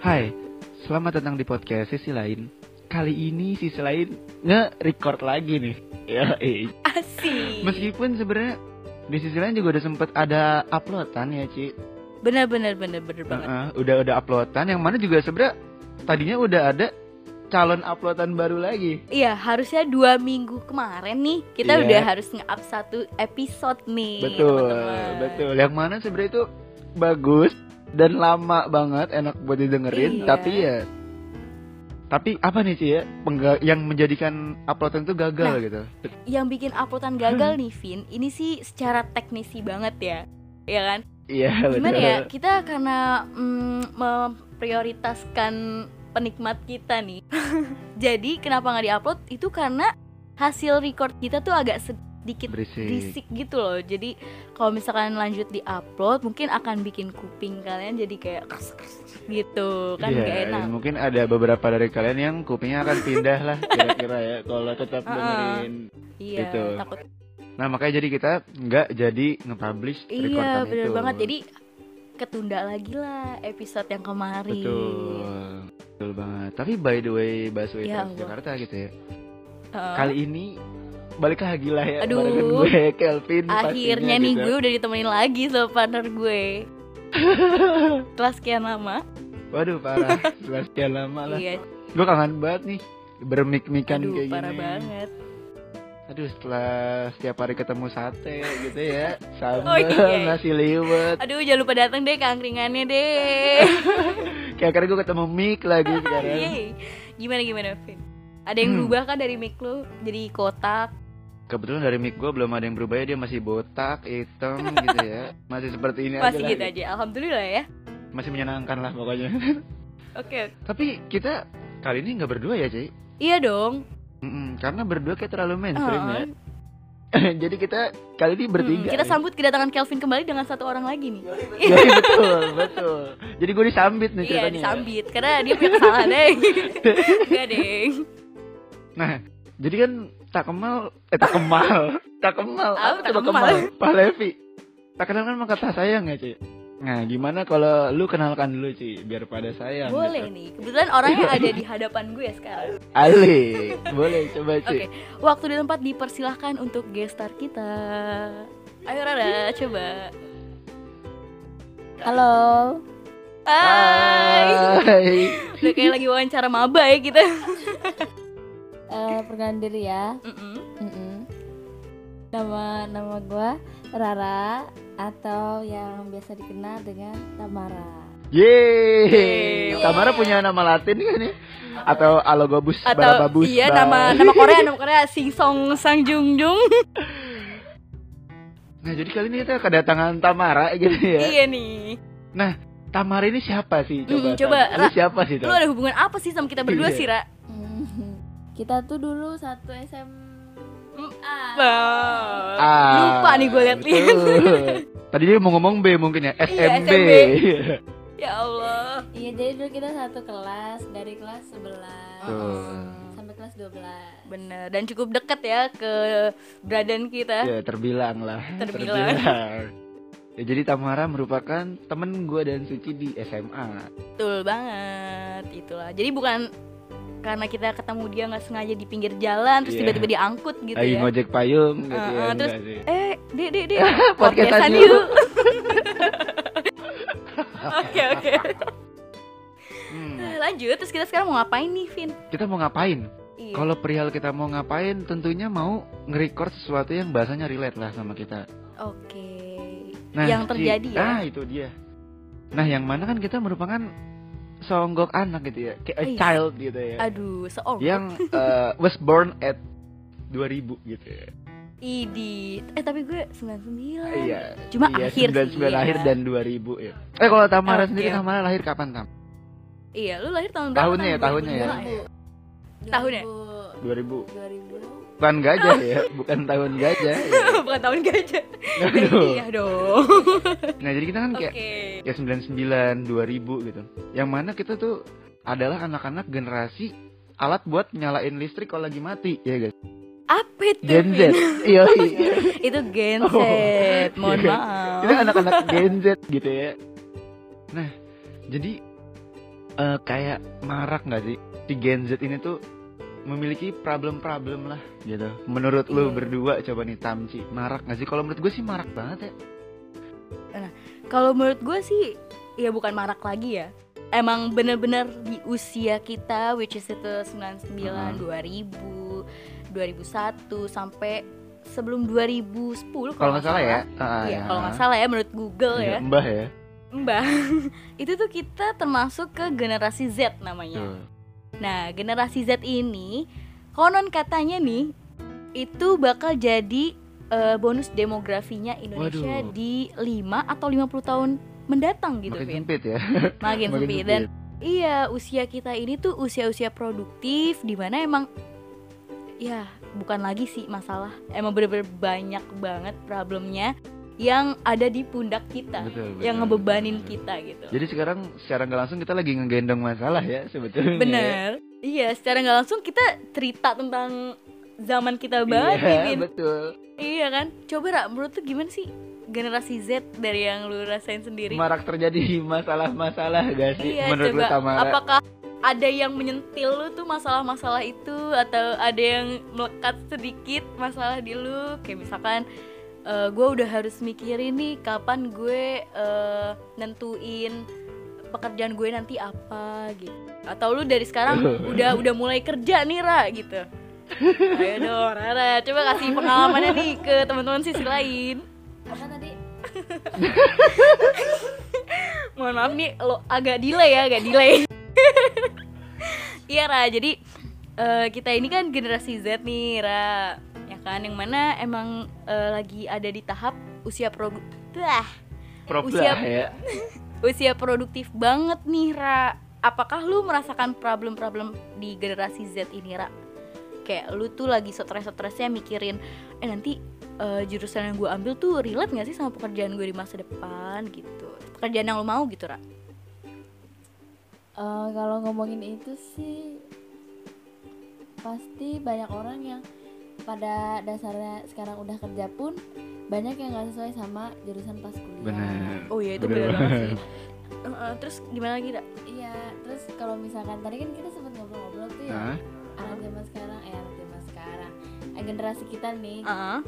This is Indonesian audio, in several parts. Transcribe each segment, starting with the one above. Hai, selamat datang di podcast Sisi Lain. Kali ini Sisi Lain nge-record lagi nih. Ya, eh. Asik. Meskipun sebenarnya di sisi lain juga udah sempet ada uploadan ya, Ci. Bener bener bener bener banget. Heeh, udah udah uploadan yang mana juga sebenarnya tadinya udah ada calon uploadan baru lagi. Iya harusnya dua minggu kemarin nih kita Iya. udah harus nge-up satu episode nih. betul, teman-teman. betul. Yang mana sebenarnya itu bagus dan lama banget, enak buat didengerin, Iya. tapi ya tapi apa nih sih ya pengga- yang menjadikan uploadan itu gagal Nah, gitu? Yang bikin uploadan gagal nih Vin, ini sih secara teknisi banget ya, ya kan? Iya, Gimana betul. ya kita karena mm, memprioritaskan penikmat kita nih. Jadi kenapa nggak diupload? Itu karena hasil record kita tuh agak sedikit Berisik. berisik gitu loh jadi kalau misalkan lanjut di upload mungkin akan bikin kuping kalian jadi kayak gitu kan Iya, gak enak dan mungkin ada beberapa dari kalian yang kupingnya akan pindah lah kira-kira ya kalau tetap Heeh. dengerin. iya gitu. takut Nah, makanya jadi kita nggak jadi nge-publish iya recordan bener itu. banget jadi ketunda lagi lah episode yang kemarin Betul. Betul banget. Tapi by the way, Busway Ya Trans Allah. Jakarta gitu ya. Heeh. Kali ini balik lagi lah ya Aduh. barengan gue Kelvin akhirnya gitu nih ya. gue udah ditemenin lagi sama partner gue setelah sekian lama Waduh, parah. Setelah sekian lama lah. iya Gue kangen banget nih bermik-mikan aduh kan kayak parah gini. banget Aduh, setelah setiap hari ketemu sate gitu ya. Sambal, Oh, iya. nasi liwet. aduh jangan lupa datang deh kangkringannya deh Kayak akhirnya gue ketemu Mik lagi sekarang. Yeay. Iya, Gimana gimana Vin? Ada kan? yang Hmm. berubah kan dari mic lu jadi kotak? Kebetulan dari Mik gue belum ada yang berubah ya. Dia masih botak, hitam gitu ya. Masih seperti ini aja Masih lah. gitu aja. Alhamdulillah ya. Masih menyenangkan lah pokoknya. Oke. oke. Tapi kita kali ini nggak berdua ya, Ci? Iya dong. Mm-mm, karena berdua kayak terlalu mainstream Heeh. ya. Jadi kita kali ini bertiga. ya? Mm-mm. Oh. Hmm, Kita nih. sambut kedatangan Kelvin kembali dengan satu orang lagi nih. Iya, betul, betul. Jadi gue disambit nih Iya, ceritanya. ya? disambit karena dia punya kesalahan deh. Enggak deh. Nah, jadi kan tak kemal, eh tak kemal, tak kemal, Apa Tak coba Kemal? Pak Levi. Tak kenal kan maka tak sayang ya, Ci? Nah, gimana kalau lu kenalkan dulu, Ci, biar pada sayang. Boleh gitu. nih. Kebetulan orangnya ada di hadapan gue sekarang. Iya. Ali, boleh coba, Ci. Oke. Waktu di tempat dipersilahkan untuk gestar kita. Ayo Rara, coba. Halo. Hai. Hai. Udah kayak lagi wawancara maba ya kita. Eh, perkenalan diri ya. Mm-mm. Mm-mm. Nama nama gue Rara atau yang biasa dikenal dengan Tamara. Yeay. Yeay. Tamara punya nama Latin kan ya? Atau Alogobus Atau Barababus. iya Ba- nama nama Korea nama Korea Sing Song Sang Jung Jung. Nah, jadi kali ini kita kedatangan Tamara gitu ya. Nah, iya nih. Tamara ini siapa sih? Coba. Mm, coba, Tam. Lu Ra. siapa sih, Lu Tam? ada hubungan apa sih sama kita berdua Iya. sih, Ra? Hmm. Kita tuh dulu satu SMA. Wow. Ah, Lupa nih gue liat-liat. Iya, betul. Tadi dia mau ngomong B Iya, mungkin ya, SMB. SMB. Ya Allah. Iya jadi dulu kita satu kelas dari kelas Oh. 11 Betul. sampai kelas 12. Bener dan cukup deket ya ke bradan kita. ya, terbilang lah. Terbilang. Ya, jadi Tamara merupakan temen gue dan Suci di SMA. Betul banget. Itulah. Jadi bukan karena kita ketemu dia nggak sengaja di pinggir jalan terus Iya. tiba-tiba diangkut gitu Lagi ya. ngojek payung gitu Heeh, ya. terus- enggak sih. Eh, dek, dek, dek, Podcastan podcastan yuk. yuk. Oke, oke. Hmm, Lanjut, terus kita sekarang mau ngapain nih, Vin? Kita mau ngapain? Iya. Kalau perihal kita mau ngapain, tentunya mau nge-record sesuatu yang bahasanya relate lah sama kita. Oke. Nah, Yang Ci, terjadi ya? Ah, itu dia. Nah, yang mana kan kita merupakan songgok anak gitu ya, kayak a Ih. child gitu ya. Aduh, seorang yang eh, was born at 2000 gitu ya. Idi. Eh, tapi gue 99. Iya. Cuma iya, akhir 99 sih, lahir ya. dan 2000 ya. Eh kalau Tamara Oke, sendiri oke. Tamara lahir kapan Tam? Iya, lu lahir tahun berapa? Tahunnya ya, tahunnya ya. 2000. Tahunnya? 2000. 2000. Bukan gajah ya, bukan tahun gajah. Ya. Bukan tahun gajah. Aduh. Iya dong. Nah, jadi kita kan Oke. kayak ya 99, 2000 gitu. Yang mana kita tuh adalah anak-anak generasi alat buat nyalain listrik kalau lagi mati ya guys. Apa itu? Gen Z. Vin? Iya. Itu Gen Z. Oh. Mohon Iya. maaf. Kita anak-anak Gen Z gitu ya. Nah, jadi eh, kayak marak nggak sih si Gen Z ini tuh memiliki problem-problem lah gitu. Menurut lu Iya. berdua coba nih Tamci marak nggak sih? Kalau menurut gue sih marak banget ya. Kalau menurut gue sih ya bukan marak lagi ya. Emang bener-bener di usia kita which is itu 99, Mm. 2000, 2001 sampai sebelum 2010 Kalau nggak salah ya. Ah, Iya, ya. kalau nggak salah ya menurut Google Iya, ya. Mbah ya. Mbak, itu tuh kita termasuk ke generasi Z namanya. Tuh. Nah, generasi Z ini konon katanya nih itu bakal jadi eh, bonus demografinya Indonesia Waduh. di 5 atau 50 tahun mendatang gitu, Makin Vin. sempit ya. Makin Makin sempit. Dan iya, usia kita ini tuh usia-usia produktif dimana emang ya bukan lagi sih masalah. Emang bener-bener banyak banget problemnya yang ada di pundak kita. Betul, betul, yang ngebebanin betul. kita gitu. Jadi sekarang secara nggak langsung kita lagi ngegendong masalah ya sebetulnya. Bener. Iya, secara nggak langsung kita cerita tentang zaman kita banget nih, Iya, Vin. betul. Iya kan? Coba Ra, menurut tuh gimana sih generasi Z dari yang lu rasain sendiri? Marak terjadi masalah-masalah gak sih? iya, menurut lu coba Tamara? apakah ada yang menyentil lu tuh masalah-masalah itu atau ada yang melekat sedikit masalah di lu? Kayak misalkan gue udah harus mikirin nih kapan gue eh, nentuin pekerjaan gue nanti apa gitu. Atau lu dari sekarang udah udah mulai kerja nih Ra gitu. Ayo dong Rara, coba kasih pengalamannya nih ke teman-teman sisi lain. Apa tadi? mohon maaf nih lo agak delay ya agak delay iya Ra jadi eh, kita ini kan generasi Z nih Ra ya kan yang mana emang eh, lagi ada di tahap usia produ Bah, Prop usia- lah ya. usia produktif banget nih Ra apakah lu merasakan problem-problem di generasi Z ini Ra kayak lu tuh lagi stres-stresnya mikirin eh nanti eh, jurusan yang gue ambil tuh relate gak sih sama pekerjaan gue di masa depan gitu pekerjaan yang lo mau gitu Ra Eh, kalau ngomongin itu sih pasti banyak orang yang pada dasarnya sekarang udah kerja pun banyak yang nggak sesuai sama jurusan pas kuliah. Benar. Oh iya itu Bener bener banget. banget sih. Heeh, terus gimana lagi, Dak? Iya. Terus kalau misalkan tadi kan kita sempat ngobrol-ngobrol tuh ya Hah? anak zaman sekarang, eh anak zaman sekarang, eh, generasi kita nih Heeh.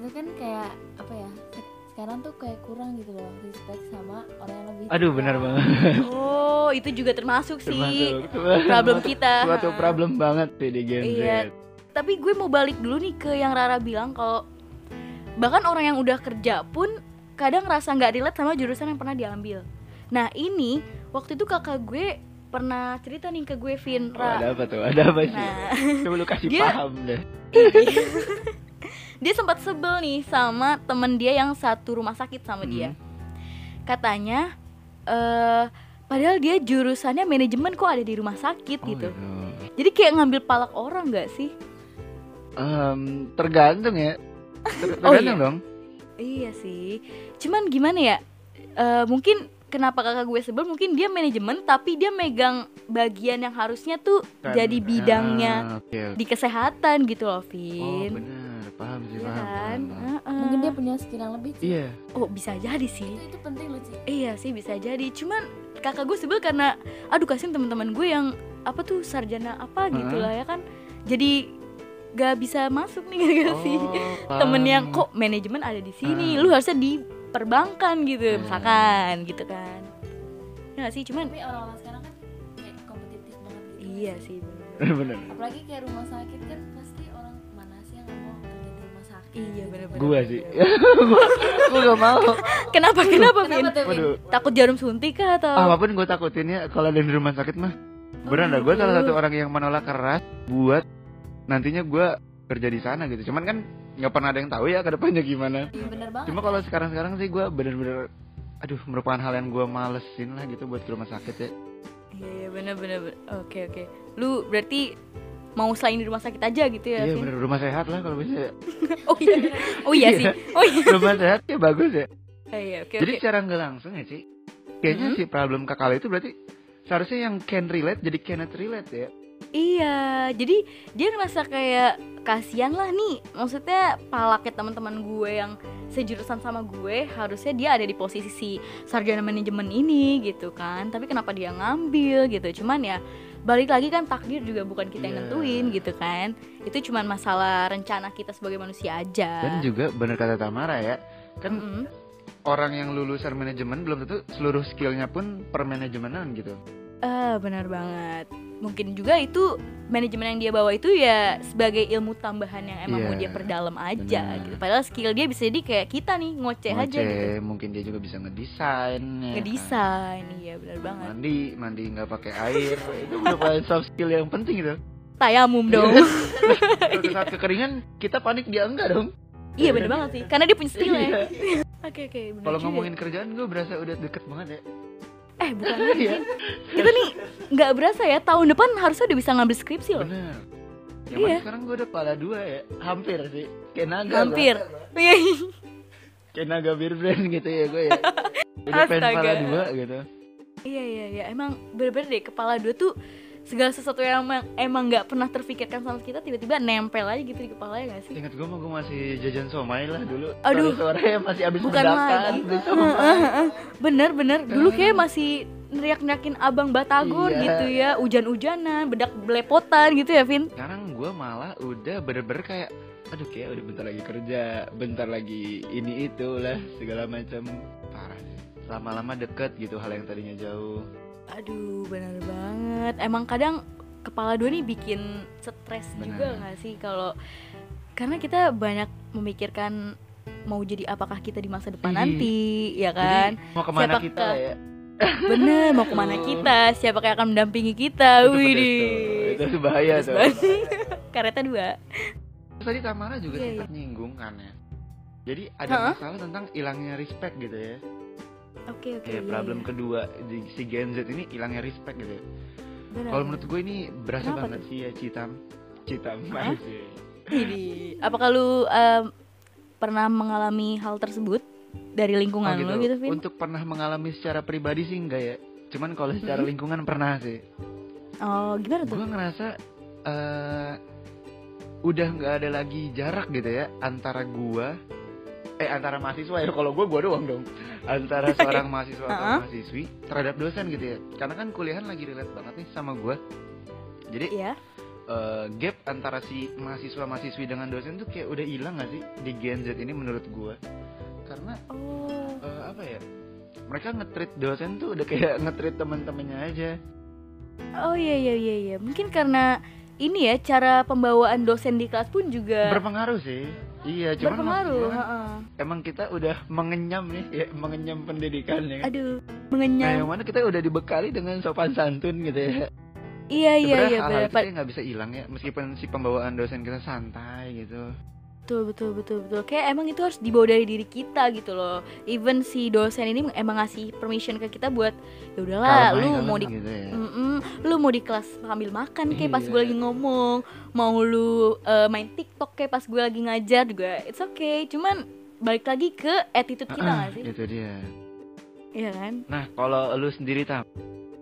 itu kan kayak apa ya? se- Sekarang tuh kayak kurang gitu loh respect sama orang yang lebih. Aduh tua. benar banget. Oh, itu juga termasuk sih Termasuk. termasuk problem kita. Suatu Heeh. problem banget sih di Gen Z. Iya. Tapi gue mau balik dulu nih ke yang Rara bilang kalau bahkan orang yang udah kerja pun kadang rasa nggak relate sama jurusan yang pernah diambil. Nah, ini waktu itu kakak gue pernah cerita nih ke gue Vin, Oh, ada Ra. apa tuh? Ada apa sih? Nah, Coba lu kasih Dia- paham deh. Iya. dia sempat sebel nih sama temen dia yang satu rumah sakit sama dia. Hmm. Katanya eh padahal dia jurusannya manajemen kok ada di rumah sakit Oh, gitu. gitu. Jadi kayak ngambil palak orang nggak sih? Em, tergantung ya. Ter- Oh, tergantung iya. dong. Iya sih. Cuman gimana ya? Eh mungkin kenapa kakak gue sebel mungkin dia manajemen tapi dia megang bagian yang harusnya tuh Kan- jadi Ah, bidangnya Oke. oke. di kesehatan gitu loh, Oh Vin. benar. Paham sih Iya paham. kan? paham, paham. Heeh. Mungkin dia punya skill yang lebih. Iya. Oh, bisa jadi sih. Itu itu penting loh Ci. Iya sih bisa jadi. Cuman kakak gue sebel karena aduh kasihan teman-teman gue yang apa tuh sarjana apa gitu Heeh. lah ya kan. Jadi gak bisa masuk nih gara-gara si Oh, temen paham. yang Iya kok manajemen ada di sini. Lu harusnya di perbankan gitu Hmm. misalkan gitu kan. Ya gak sih cuman Tapi orang-orang sekarang kan kayak kompetitif banget gitu. iya kan? sih. bener. benar. Apalagi kayak rumah sakit kan pasti orang mana sih yang mau kerja di rumah sakit. Iya bener-bener. Gua sih. bener-bener. Gua gak mau. Kenapa kenapa Vin? Kenapa tuh, Vin? Waduh. Takut jarum suntik kah atau? apapun gue takutin ya kalau ada di rumah sakit mah beneran dah Oh, gue salah gitu. satu orang yang menolak keras buat nantinya gue kerja di sana gitu cuman kan nggak pernah ada yang tahu ya ke depannya gimana Iya bener banget. cuma kalau sekarang sekarang sih gue bener-bener aduh merupakan hal yang gue malesin lah gitu buat ke rumah sakit ya Iya iya bener-bener. Oke oke. Lu berarti mau selain di rumah sakit aja gitu ya? iya Vin? bener rumah sehat lah kalau bisa ya. Oh iya, oh iya Iya. sih. Oh iya. rumah sehat ya bagus ya Oh iya, oke jadi oke. cara nggak langsung ya sih kayaknya Mhm. si problem kakak lo itu berarti seharusnya yang can relate jadi cannot relate ya Iya, jadi dia ngerasa kayak kasihan lah nih. Maksudnya palaknya teman-teman gue yang sejurusan sama gue harusnya dia ada di posisi si sarjana manajemen ini gitu kan. Tapi kenapa dia ngambil gitu? Cuman ya balik lagi kan takdir juga bukan kita yang Iya. nentuin gitu kan. Itu cuman masalah rencana kita sebagai manusia aja. Dan juga bener kata Tamara ya, kan Mm-mm. orang yang lulusan manajemen belum tentu seluruh skillnya pun per manajemenan gitu. Eh, benar banget. Mungkin juga itu manajemen yang dia bawa itu ya sebagai ilmu tambahan yang emang mau Iya, dia perdalam aja benar. gitu. Padahal skill dia bisa jadi kayak kita nih ngoceh, aja gitu. Ngoceh, mungkin dia juga bisa ngedesain. ya kan. Ngedesain, iya benar banget. Mandi, mandi nggak pakai air, itu udah paling soft skill yang penting gitu. Tayamum dong. Iya. Kalau saat kekeringan kita panik dia enggak dong. iya benar banget sih. Karena dia punya skill ya. Iya. Oke oke. benar Kalau juga. ngomongin kerjaan gue berasa udah deket banget ya. eh bukan Iya. kita nih nggak berasa ya tahun depan harusnya udah bisa ngambil skripsi loh. Bener. Yang Iya. mana sekarang gue udah pala dua ya, hampir sih. Kayak naga. Hampir. gua. Iya, Kayak naga bir brand gitu ya gue ya. Udah pengen Astaga. pala dua gitu. Iya iya iya emang bener-bener deh kepala dua tuh segala sesuatu yang emang emang nggak pernah terpikirkan sama kita tiba-tiba nempel aja gitu di kepala ya gak sih? Ingat gue mah gue masih jajan somai lah dulu. Aduh. Sore ya masih abis Bukan ledakan, lagi. beli Heeh, somai. heeh. bener bener dulu kayak masih neriak-neriakin abang Batagor Iya. gitu ya hujan-hujanan bedak belepotan gitu ya Vin? Sekarang gue malah udah bener-bener kayak aduh kayak udah bentar lagi kerja, bentar lagi ini itu lah segala macam parah. sih. Lama-lama deket gitu hal yang tadinya jauh. Aduh bener banget emang kadang kepala dua nih bikin stres Bener. juga gak sih kalau karena kita banyak memikirkan mau jadi apakah kita di masa depan Iya. nanti ya kan? Jadi mau kemana siapa kita ke- ya? Bener, mau kemana Aduh. kita? Siapa yang akan mendampingi kita? Itu pedes Widih. tuh. Itu tuh bahaya Pedes tuh. banget. Kareta dua. Terus tadi Tamara juga Iya, sempat nyinggung kan ya. Jadi ada Heeh. masalah tentang hilangnya respect gitu ya. Oke, oke. Kayak iya, problem iya. kedua di si Gen Z ini hilangnya respect gitu ya. Bener. Kalau menurut gue ini berasa Kenapa banget sih ya Citam. Citam Hah? aja. Widih. Apakah lu em, pernah mengalami hal tersebut dari lingkungan Oh, lu gitu, Vin? Untuk pernah mengalami secara pribadi sih enggak ya. Cuman kalau secara lingkungan pernah sih. Oh, gimana tuh? Gue ngerasa eh udah nggak ada lagi jarak gitu ya antara gua eh antara mahasiswa ya kalau gua gua doang dong antara seorang mahasiswa atau Uh-uh. mahasiswi terhadap dosen gitu ya karena kan kuliahan lagi relate banget nih sama gua jadi Iya. eh, gap antara si mahasiswa mahasiswi dengan dosen tuh kayak udah hilang gak sih di Gen Z ini menurut gua karena Oh. eh, apa ya mereka ngetrit dosen tuh udah kayak ngetrit teman-temannya aja Oh iya iya iya iya. Mungkin karena ini ya cara pembawaan dosen di kelas pun juga berpengaruh sih iya cuman maksud Eh. berpengaruh. gua kan heeh. emang kita udah mengenyam nih ya, mengenyam pendidikan ya kan? Aduh, nah mengenyam. yang mana kita udah dibekali dengan sopan santun gitu ya iya iya Sebenarnya iya. hal-hal bener. itu yang nggak bisa hilang ya meskipun si pembawaan dosen kita santai gitu Betul, betul, betul, betul. Kayak emang itu harus dibawa dari diri kita gitu loh. Even si dosen ini emang ngasih permission ke kita buat ya Kalem udahlah, aja, lu kalem mau di Mm. gitu ya. Mm-mm, lu mau di kelas sambil makan kayak pas Iya. gue lagi ngomong, mau lu eh, main TikTok kayak pas gue lagi ngajar juga. It's okay, cuman balik lagi ke attitude kita Ah, gak sih? itu dia Iya kan? nah kalau lu sendiri tam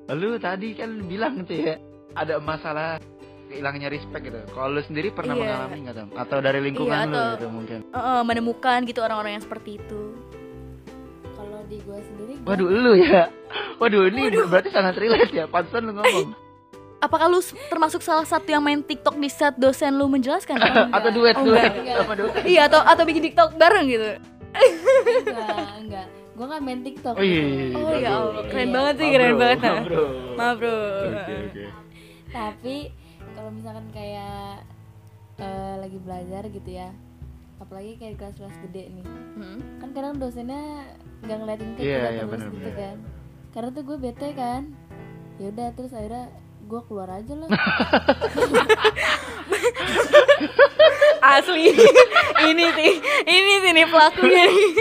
lu tadi kan bilang tuh ya ada masalah hilangnya respect gitu kalau lu sendiri pernah Iya. mengalami nggak tam atau dari lingkungan Iya, lu atau- gitu mungkin Eh, menemukan gitu orang-orang yang seperti itu. Kalau di gue sendiri gua- waduh lu ya waduh ini berarti sangat relate ya pantesan lu ngomong Apakah lu s- termasuk salah satu yang main TikTok di saat dosen lu menjelaskan? Atau enggak? atau duet Oh, duet enggak. sama duet iya atau atau bikin TikTok bareng gitu. enggak enggak gue nggak main tiktok Oh iya, iya, iya. Oh ya Bro. Allah, keren banget sih, Maaf, keren bro. banget. nah. Maaf, bro. Maaf bro. Oke, oke. tapi kalau misalkan kayak eh, lagi belajar gitu ya apalagi kayak di kelas-kelas gede nih Hmm. kan kadang dosennya nggak ngeliatin ke Iya, iya, kita terus bener, gitu bener. kan karena tuh gue bete kan ya udah terus akhirnya gue keluar aja lah Asli. ini sih, ini sih nih pelakunya. nih.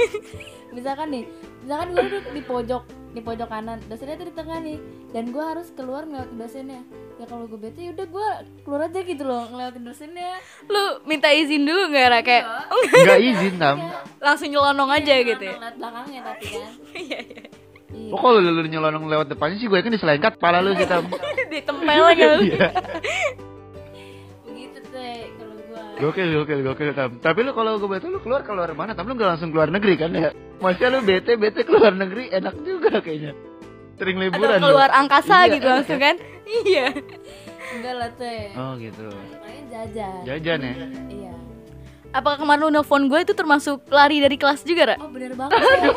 misalkan nih misalkan gue duduk di pojok di pojok kanan dosennya tuh di tengah nih dan gue harus keluar ngeliatin dosennya ya kalau gue bete ya udah gue keluar aja gitu loh ngeliatin dosennya Lu minta izin dulu nggak Ra kayak oh, nggak. Enggak izin tam. langsung nyelonong aja gitu ya. ngeliat belakangnya tapi kan Iya, iya. Iya. Oh, kalau lu nyelonong lewat depannya sih gue kan diselengkat pala lu sih tam. Ditempel lagi. Iya. Gokil, gokil, gokil, Tam. Tapi lu kalau gue bete lu keluar keluar mana? Tam lu nggak langsung keluar negeri kan ya? Maksudnya lu bete, bete keluar negeri enak juga kayaknya. Sering atau liburan. lu. keluar angkasa Iya, gitu langsung kan iya enggak lah teh Oh gitu. main jajan Jajan ya. iya apakah kemarin lu nelfon gue itu termasuk lari dari kelas juga Ra? oh bener banget ya.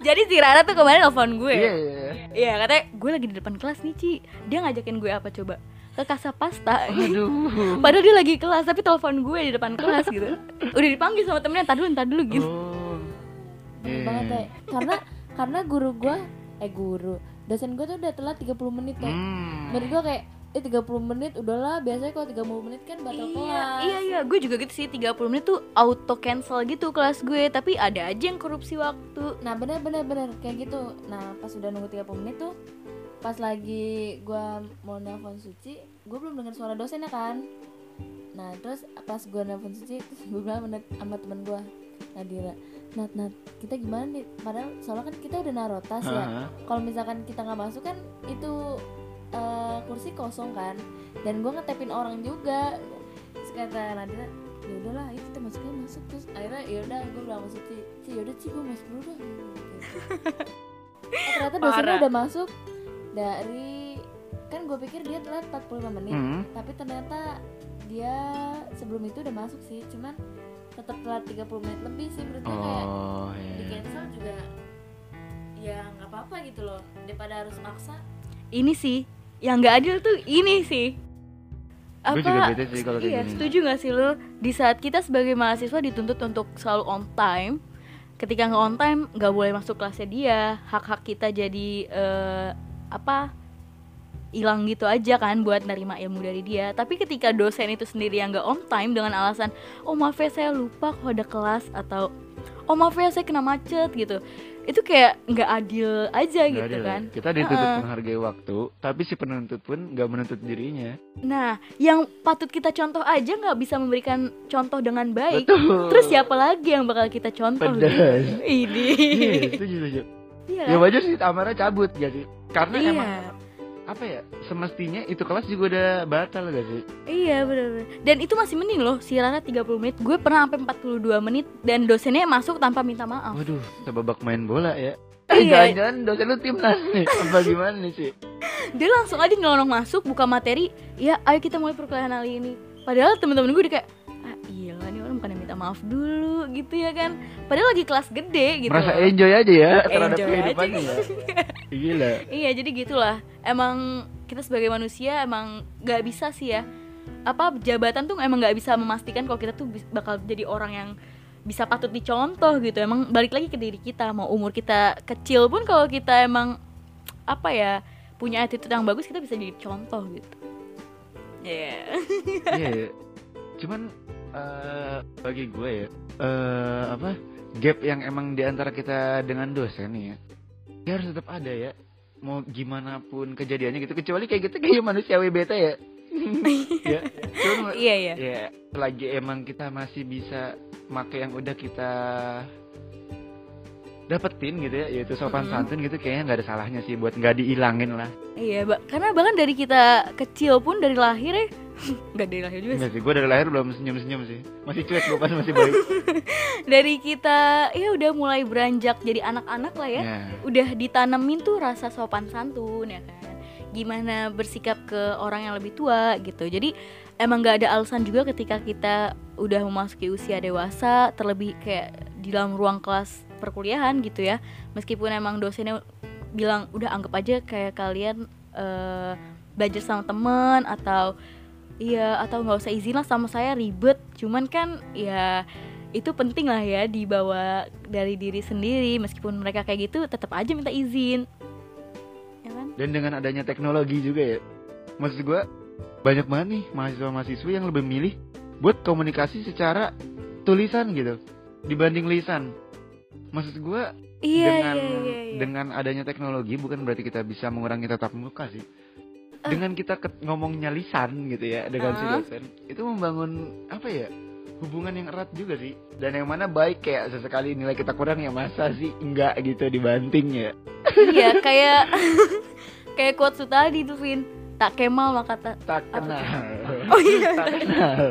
jadi si Rara tuh kemarin nelfon gue Iya, iya, iya. Iya katanya gue lagi di depan kelas nih Ci Dia ngajakin gue apa coba? Ke Casa Pasta Aduh. Padahal dia lagi kelas tapi telepon gue di depan kelas gitu Udah dipanggil sama temennya, ntar dulu, ntar dulu gitu Oh. bener Hmm. banget teh karena karena guru gua eh guru dosen gua tuh udah telat 30 menit teh Hmm. menurut gua kayak eh 30 menit udahlah biasanya kalau 30 menit kan batal kelas Iya iya gue juga gitu sih 30 menit tuh auto cancel gitu kelas gue Tapi ada aja yang korupsi waktu nah bener bener bener kayak gitu nah pas udah nunggu 30 menit tuh pas lagi gua mau nelfon Suci gua belum dengar suara dosennya kan nah terus pas gua nelfon Suci terus gua bilang sama sama temen gua Nadira Nat Nat kita gimana nih padahal soalnya kan kita udah naruh tas ya Hah? kalau misalkan kita nggak masuk kan itu eh, kursi kosong kan dan gue ngetepin orang juga terus kata Nadira ya udahlah ayo kita masuk aja, masuk terus akhirnya ya udah gue bilang masuk Ci Ci yaudah ya Ci gue masuk dulu dah Gitu. eh, ternyata dosennya Parah. udah masuk dari kan gue pikir dia telat 45 menit Hmm. tapi ternyata dia sebelum itu udah masuk sih cuman tetap telat 30 menit lebih sih menurut gue kayak Oh, di iya. cancel juga ya nggak apa-apa gitu loh daripada harus maksa Ini sih yang gak adil tuh ini sih Gue juga bete sih kalau kayak iya, gini. setuju gak sih lu di saat kita sebagai mahasiswa dituntut untuk selalu on time ketika nggak on time nggak boleh masuk kelasnya dia hak hak kita jadi eh, apa hilang gitu aja kan buat nerima ilmu dari dia tapi ketika dosen itu sendiri yang nggak on time dengan alasan oh maaf ya saya lupa kalau ada kelas atau oh maaf ya saya kena macet gitu itu kayak nggak adil aja Nggak gitu adil ya. kan Kita dituntut Heeh. menghargai waktu, tapi si penuntut pun nggak menuntut dirinya. Nah, yang patut kita contoh aja nggak bisa memberikan contoh dengan baik. Betul. Eh, Terus siapa lagi yang bakal kita contoh? Pedas. Ini. Iya, setuju, setuju. Iya. Ya kan? wajar sih Tamara cabut gak sih? Karena Iya. emang apa ya semestinya itu kelas juga udah batal gak sih? Iya, benar-benar. Dan itu masih mending loh, si Rara 30 menit, gue pernah sampai 42 menit dan dosennya masuk tanpa minta maaf. Waduh, sebabak main bola ya. Iya. Eh, jangan-jangan dosen lu timnas nih. Apa gimana nih sih? Dia langsung aja nyelonong masuk, buka materi, "Ya, ayo kita mulai perkuliahan hari ini." Padahal temen-temen gue udah kayak ah iya nih orang bukan minta maaf dulu gitu ya kan padahal lagi kelas gede gitu Merasa loh. enjoy aja ya terhadap Enjoy kehidupannya ya. Gila. Iya jadi gitulah emang kita sebagai manusia emang nggak bisa sih ya apa jabatan tuh emang nggak bisa memastikan kalau kita tuh bis- bakal jadi orang yang bisa patut dicontoh gitu emang balik lagi ke diri kita mau umur kita kecil pun kalau kita emang apa ya punya attitude yang bagus kita bisa jadi contoh gitu ya Iya. ya. Cuman eh, bagi gue ya eh, apa gap yang emang di antara kita dengan dosen nih ya. Dia harus tetap ada ya. Mau gimana pun kejadiannya gitu kecuali kayak gitu kayak manusia WBT ya. ya. Cuman, iya iya ya lagi emang kita masih bisa make yang udah kita dapetin gitu ya yaitu sopan Mm. santun gitu kayaknya nggak ada salahnya sih buat nggak dihilangin lah iya Ba- karena bahkan dari kita kecil pun dari lahir ya nggak dari lahir juga sih Enggak sih gue dari lahir belum senyum senyum sih masih cuek gue pas masih bayi dari kita ya udah mulai beranjak jadi anak-anak lah ya Nah, udah ditanemin tuh rasa sopan santun ya kan gimana bersikap ke orang yang lebih tua gitu jadi emang gak ada alasan juga ketika kita udah memasuki usia dewasa terlebih kayak di dalam ruang kelas perkuliahan gitu ya meskipun emang dosennya bilang udah anggap aja kayak kalian eh, belajar sama temen atau iya atau nggak usah izin lah sama saya ribet cuman kan ya itu penting lah ya dibawa dari diri sendiri meskipun mereka kayak gitu tetap aja minta izin ya kan dan dengan adanya teknologi juga ya maksud gue banyak banget nih mahasiswa mahasiswi yang lebih milih buat komunikasi secara tulisan gitu dibanding lisan maksud gue iya dengan iya iya, iya. dengan adanya teknologi bukan berarti kita bisa mengurangi tatap muka sih. Dengan kita ket- ngomongnya lisan gitu ya dengan si Eh. Ah. dosen, itu membangun apa ya? hubungan yang erat juga sih dan yang mana baik kayak sesekali nilai kita kurang ya masa sih enggak gitu dibanting ya iya kayak kayak quotes tadi tuh Vin tak kemal maka tak tak Apa kenal Oh iya. tak kenal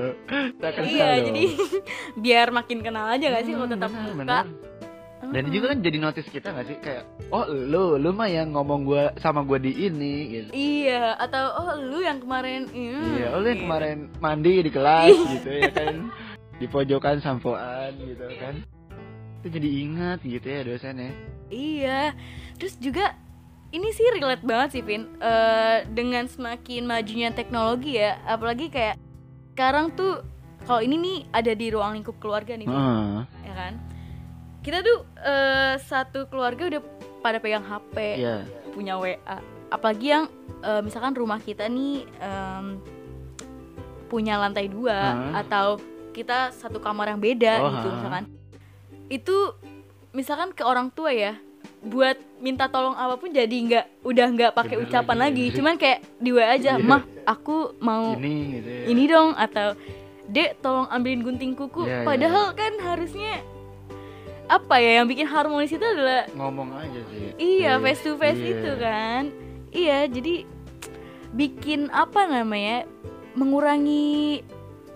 tak kenal iya dong. jadi biar makin kenal aja gak sih kalau Hmm, tetap benar, muka. benar. dan Hmm. juga kan jadi notice kita gak sih kayak oh lu lu mah yang ngomong gua sama gua di ini gitu Iya, atau oh lu yang kemarin hmm, Iya. iya oleh gitu. kemarin mandi di kelas gitu ya kan di pojokan sampoan gitu kan itu jadi ingat gitu ya dosennya Iya. Terus juga ini sih relate banget sih Vin Eh, dengan semakin majunya teknologi ya, apalagi kayak sekarang tuh kalau ini nih ada di ruang lingkup keluarga nih, Vin, Heeh. ya kan? Kita tuh eh, satu keluarga udah pada pegang HP. iya punya WA. Apalagi yang eh, misalkan rumah kita nih em, punya lantai dua Hah? atau kita satu kamar yang beda Hmm. Oh, gitu hah. misalkan. Itu misalkan ke orang tua ya buat minta tolong apapun jadi nggak udah nggak pakai Bener ucapan lagi. lagi, cuman kayak di WA Iya. aja, mah aku mau ini gitu ya Oh. ini dong atau dek tolong ambilin gunting kuku. Iya, iya, Padahal kan harusnya apa ya yang bikin harmonis itu adalah ngomong aja sih Iya, Iya, face to face iya. itu kan. Iya, jadi bikin apa namanya? Mengurangi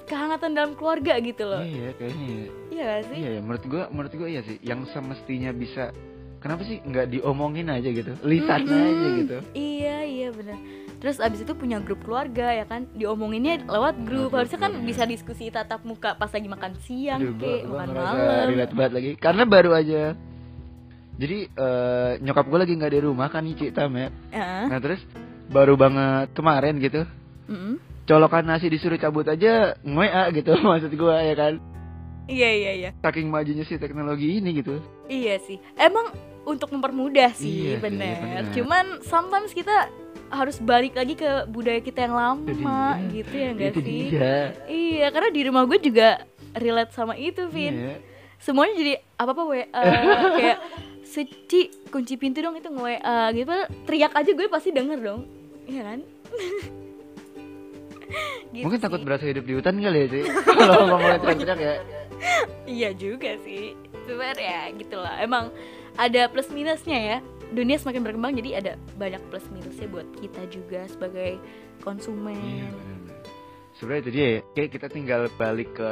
kehangatan dalam keluarga gitu loh. iya kayaknya ya. Iya gak sih? Iya, ya, menurut gua, menurut gua iya sih. Yang semestinya bisa, kenapa sih nggak diomongin aja gitu, lisannya Mm-mm. aja gitu. Iya, iya benar. Terus abis itu punya grup keluarga ya kan Diomonginnya lewat grup Lewat Harusnya kan grup, iya. bisa diskusi tatap muka pas lagi makan siang Aduh, gua, kek, gua makan ngerasa malam relate banget lagi, karena baru aja. Jadi eh, nyokap gua lagi nggak di rumah kan Cik Tam ya. Heeh. Nah terus baru banget kemarin gitu, Mm-mm. colokan nasi disuruh cabut aja ngoya gitu maksud gua ya kan. Iya, iya, iya Saking majunya sih teknologi ini gitu. Iya sih. Emang untuk mempermudah Iya sih, sih, bener. bener. Cuman sometimes kita harus balik lagi ke budaya kita yang lama Itu dia. gitu ya enggak Itu sih? dia. Iya, karena di rumah gue juga relate sama itu, Vin. Iya. Semuanya jadi apa-apa WA kayak Suci, kunci pintu dong itu nge-WA gitu. Padahal Teriak aja gue pasti denger dong. Iya kan? Gitu Mungkin takut sih. berasa hidup di hutan kali ya sih. Kalau ngomongin teriak-teriak ya. Iya juga sih. Cuman ya gitulah. Emang ada plus minusnya ya. Dunia semakin berkembang jadi ada banyak plus minusnya buat kita juga sebagai Iya, konsumen. benar-benar. Sebenarnya itu dia ya. Kayak kita tinggal balik ke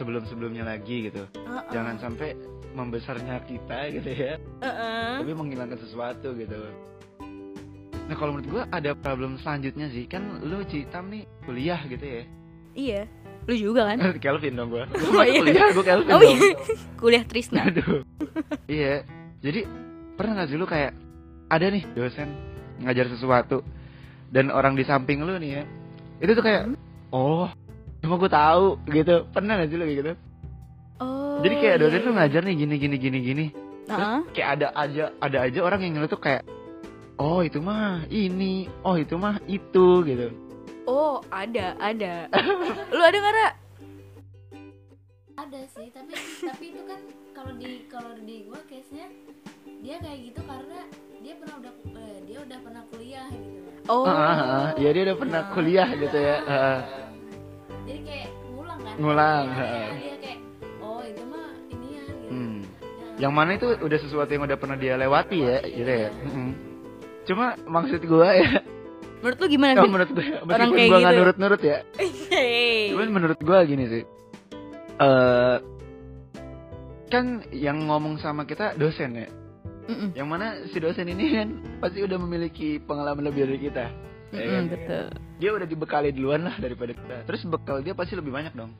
sebelum-sebelumnya lagi gitu. Heeh. Jangan sampai membesarnya kita gitu ya, Heeh. tapi menghilangkan sesuatu gitu. Nah kalau menurut gua ada problem selanjutnya sih kan lu Citam nih kuliah gitu ya Iya. Lu juga kan? Kelvin dong gua Oh, iya. kuliah gua Kelvin Oh dong iya. Kuliah Trisna. Aduh. iya. Jadi pernah nggak sih lu kayak ada nih dosen ngajar sesuatu dan orang di samping lu nih ya. Itu tuh kayak oh, cuma gue tahu gitu. Pernah nggak sih lu kayak gitu? Oh. Jadi kayak dosen iya, tuh iya. ngajar nih gini gini gini gini. Heeh. Kayak ada aja ada aja orang yang ngeliat tuh kayak oh itu mah ini, oh itu mah itu gitu. Oh, ada, ada. Lu ada enggak, Ra? ada sih tapi tapi itu kan kalau di kalau di gua case nya dia kayak gitu karena dia pernah udah eh, dia udah pernah kuliah gitu Oh. Ah, ah, ah. ya dia udah pernah Nah. kuliah gitu ya. Ah, ah. jadi kayak ngulang kan Ngulang, Iya, heeh. dia kayak oh itu mah ini ya gitu Hmm. Nah, Ya, yang mana itu udah sesuatu yang udah pernah dia lewati ya gitu ya Mm-mm. cuma maksud gua ya Menurut lu gimana, kalau Vin? menurut gue Orang meskipun kayak gua nggak gitu. nurut-nurut ya Hei. cuman menurut gua gini sih eh kan yang ngomong sama kita dosen ya Mm-mm, yang mana si dosen ini kan pasti udah memiliki pengalaman lebih dari kita ya mm-mm, kan? betul. dia udah dibekali duluan lah daripada kita terus bekal dia pasti lebih banyak dong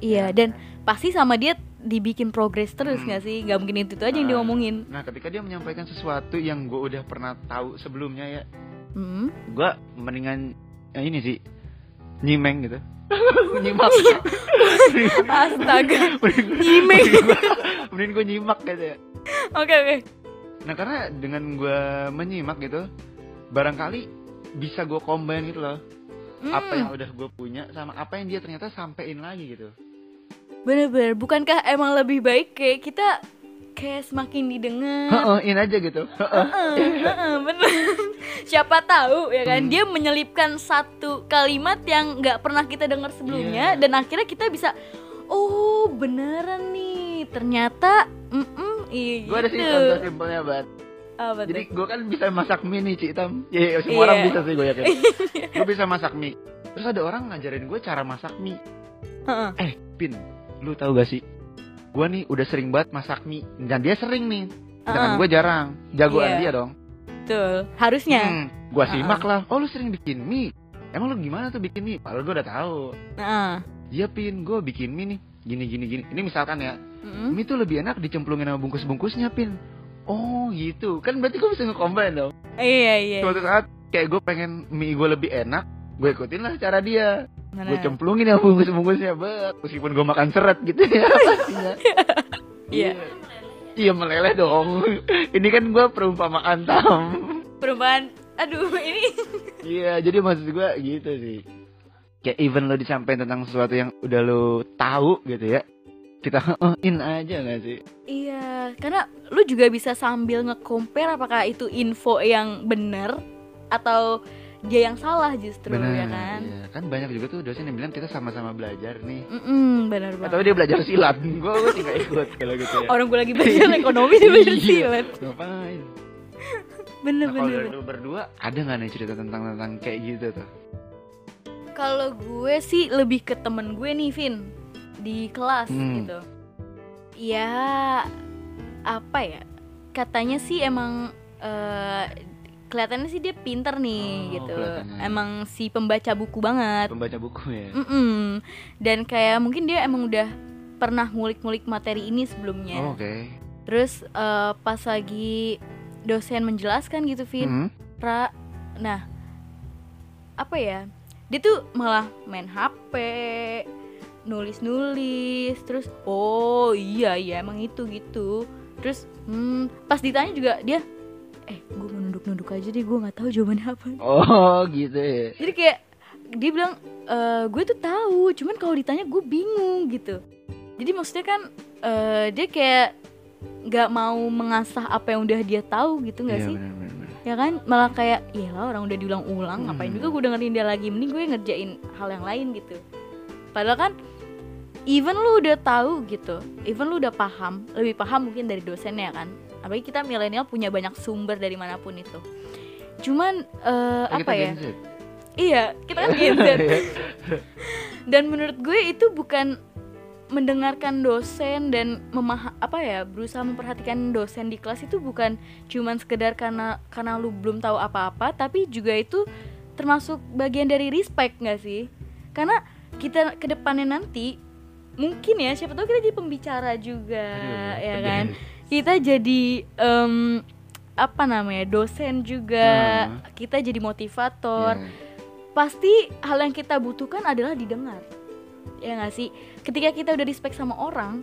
Iya, dan pasti sama dia dibikin progres terus Hmm. nggak sih? Gak mungkin itu, itu aja yang Ah. diomongin. nah ketika dia menyampaikan sesuatu yang gua udah pernah tahu sebelumnya ya Hmm. gua mendingan ya ini sih nyimeng gitu nyimak Astaga, mending, nyimeng. mending gue nyimak gitu ya Oke oke. nah karena dengan gua menyimak gitu barangkali bisa gue combine gitu loh Hmm, apa yang udah gue punya sama apa yang dia ternyata sampein lagi gitu Bener-bener. Bukankah emang lebih baik kayak kita kayak semakin didengar? Heeh, in aja gitu Heeh. Heeh, heeh, bener. Siapa tahu ya Hmm. kan? Dia menyelipkan satu kalimat yang nggak pernah kita dengar sebelumnya Iya. dan akhirnya kita bisa, oh beneran nih. Ternyata, gitu." mm gue ada sih contoh simpelnya banget Apa Jadi tuh? gue kan bisa masak mie nih Cik Tam Ya ya, semua orang Iya. bisa sih gue yakin Gue bisa masak mie Terus ada orang ngajarin gue cara masak mie Heeh. Eh Pin Lu tahu gak sih Gue nih udah sering banget masak mie Dan dia sering nih Sedangkan Heeh, gue jarang Jagoan Iya. dia dong Ah, betul. Harusnya. hmm, Gue simak lah Oh lu sering bikin mie Emang lu gimana tuh bikin mie Padahal gue udah tahu Heeh. Iya Pin gue bikin mie nih Gini gini gini Ini misalkan ya Mm-mm. Mie tuh lebih enak dicemplungin sama bungkus-bungkusnya Pin Oh gitu Kan berarti gue bisa nge-combine dong Iya, iya. suatu saat kayak gue pengen mie gue lebih enak gue ikutin lah cara dia gue Benar. cemplungin ya bungkus bungkusnya bet meskipun gue makan seret gitu ya pastinya Iya. iya meleleh dong ini kan gue perumpamaan tam Perubahan. Aduh, ini iya jadi maksud gue gitu sih kayak even lo disampaikan tentang sesuatu yang udah lo tahu gitu ya kita "Oh, in aja gak sih Iya, karena lu juga bisa sambil nge-compare apakah itu info yang bener atau dia yang salah justru ya kan. iya. kan banyak juga tuh dosen yang bilang kita sama-sama belajar nih Mm-mm, bener atau banget. dia belajar silat gue tidak ikut kalau gitu ya Orang gue lagi belajar ekonomi dia belajar Iya. silat. ngapain Bener Nah, kalau bener. dari bener. lu berdua ada nggak nih cerita tentang tentang kayak gitu tuh? Kalau gue sih lebih ke temen gue nih, Vin, di kelas Hmm. gitu. Ya apa ya? Katanya sih emang eh, kelihatannya sih dia pinter nih Oh, gitu. kelihatannya. Emang si pembaca buku banget. Pembaca buku ya. Mm-mm. Dan kayak mungkin dia emang udah pernah ngulik-ngulik materi ini Oh, sebelumnya. Oke. Terus eh, pas lagi dosen menjelaskan gitu, Hmm. Vin. Ra- nah, apa ya? Dia tuh malah main HP, nulis-nulis, terus oh iya iya emang itu gitu. Terus hmm, pas ditanya juga dia eh gue mau nunduk-nunduk aja deh gue nggak tahu jawabannya apa Oh gitu ya. jadi kayak dia bilang "Eh, gue tuh tahu cuman kalau ditanya gue bingung gitu jadi maksudnya kan eh, dia kayak nggak mau mengasah apa yang udah dia tahu gitu nggak Iya, sih benar, benar, benar. ya kan malah kayak iyalah orang udah diulang-ulang ngapain Hmm. juga gue dengerin dia lagi mending gue ngerjain hal yang lain gitu padahal kan even lu udah tahu gitu even lu udah paham lebih paham mungkin dari dosennya kan apalagi kita milenial punya banyak sumber dari manapun itu cuman eh, Eh, apa kita ya Gen Z. Iya, kita kan Gen Z. Iya. Dan menurut gue itu bukan mendengarkan dosen dan memaha apa ya berusaha memperhatikan dosen di kelas itu bukan cuman sekedar karena karena lu belum tahu apa-apa tapi juga itu termasuk bagian dari respect nggak sih karena kita kedepannya nanti mungkin ya siapa tahu kita jadi pembicara juga Aduh, ya bener. kan kita jadi em, apa namanya dosen juga kita jadi motivator Hmm. Iya. pasti hal yang kita butuhkan adalah didengar ya nggak sih ketika kita udah respect sama orang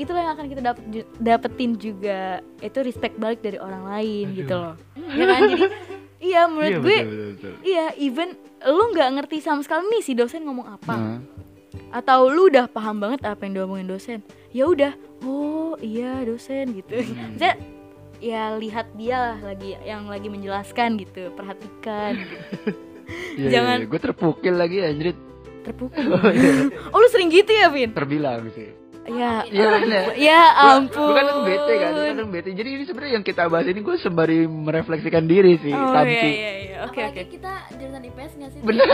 itulah yang akan kita dapet, ju- dapetin juga itu respect balik dari orang lain Aduh. gitu loh ya kan jadi iya menurut Iya, gue betul, betul, betul. iya even lu nggak ngerti sama sekali nih si dosen ngomong apa Nah, atau lu udah paham banget apa yang diomongin dosen ya udah oh iya dosen gitu Hmm. Maksudnya, ya lihat dia lah lagi yang lagi menjelaskan gitu perhatikan iya, iya, Jangan- iya. Gue terpukil lagi anjrit. terpukul Oh, iya. Oh lu sering gitu ya Vin? Terbilang sih. Ya, Iya benar. ya ampun. Oh, Gue kan bete kan, gue kan bete. Jadi ini sebenarnya yang kita bahas ini gue sembari merefleksikan diri sih, Oh Tam, iya sih. iya iya. Oke Apalagi oke. kita jurusan IPS nggak sih? Bener.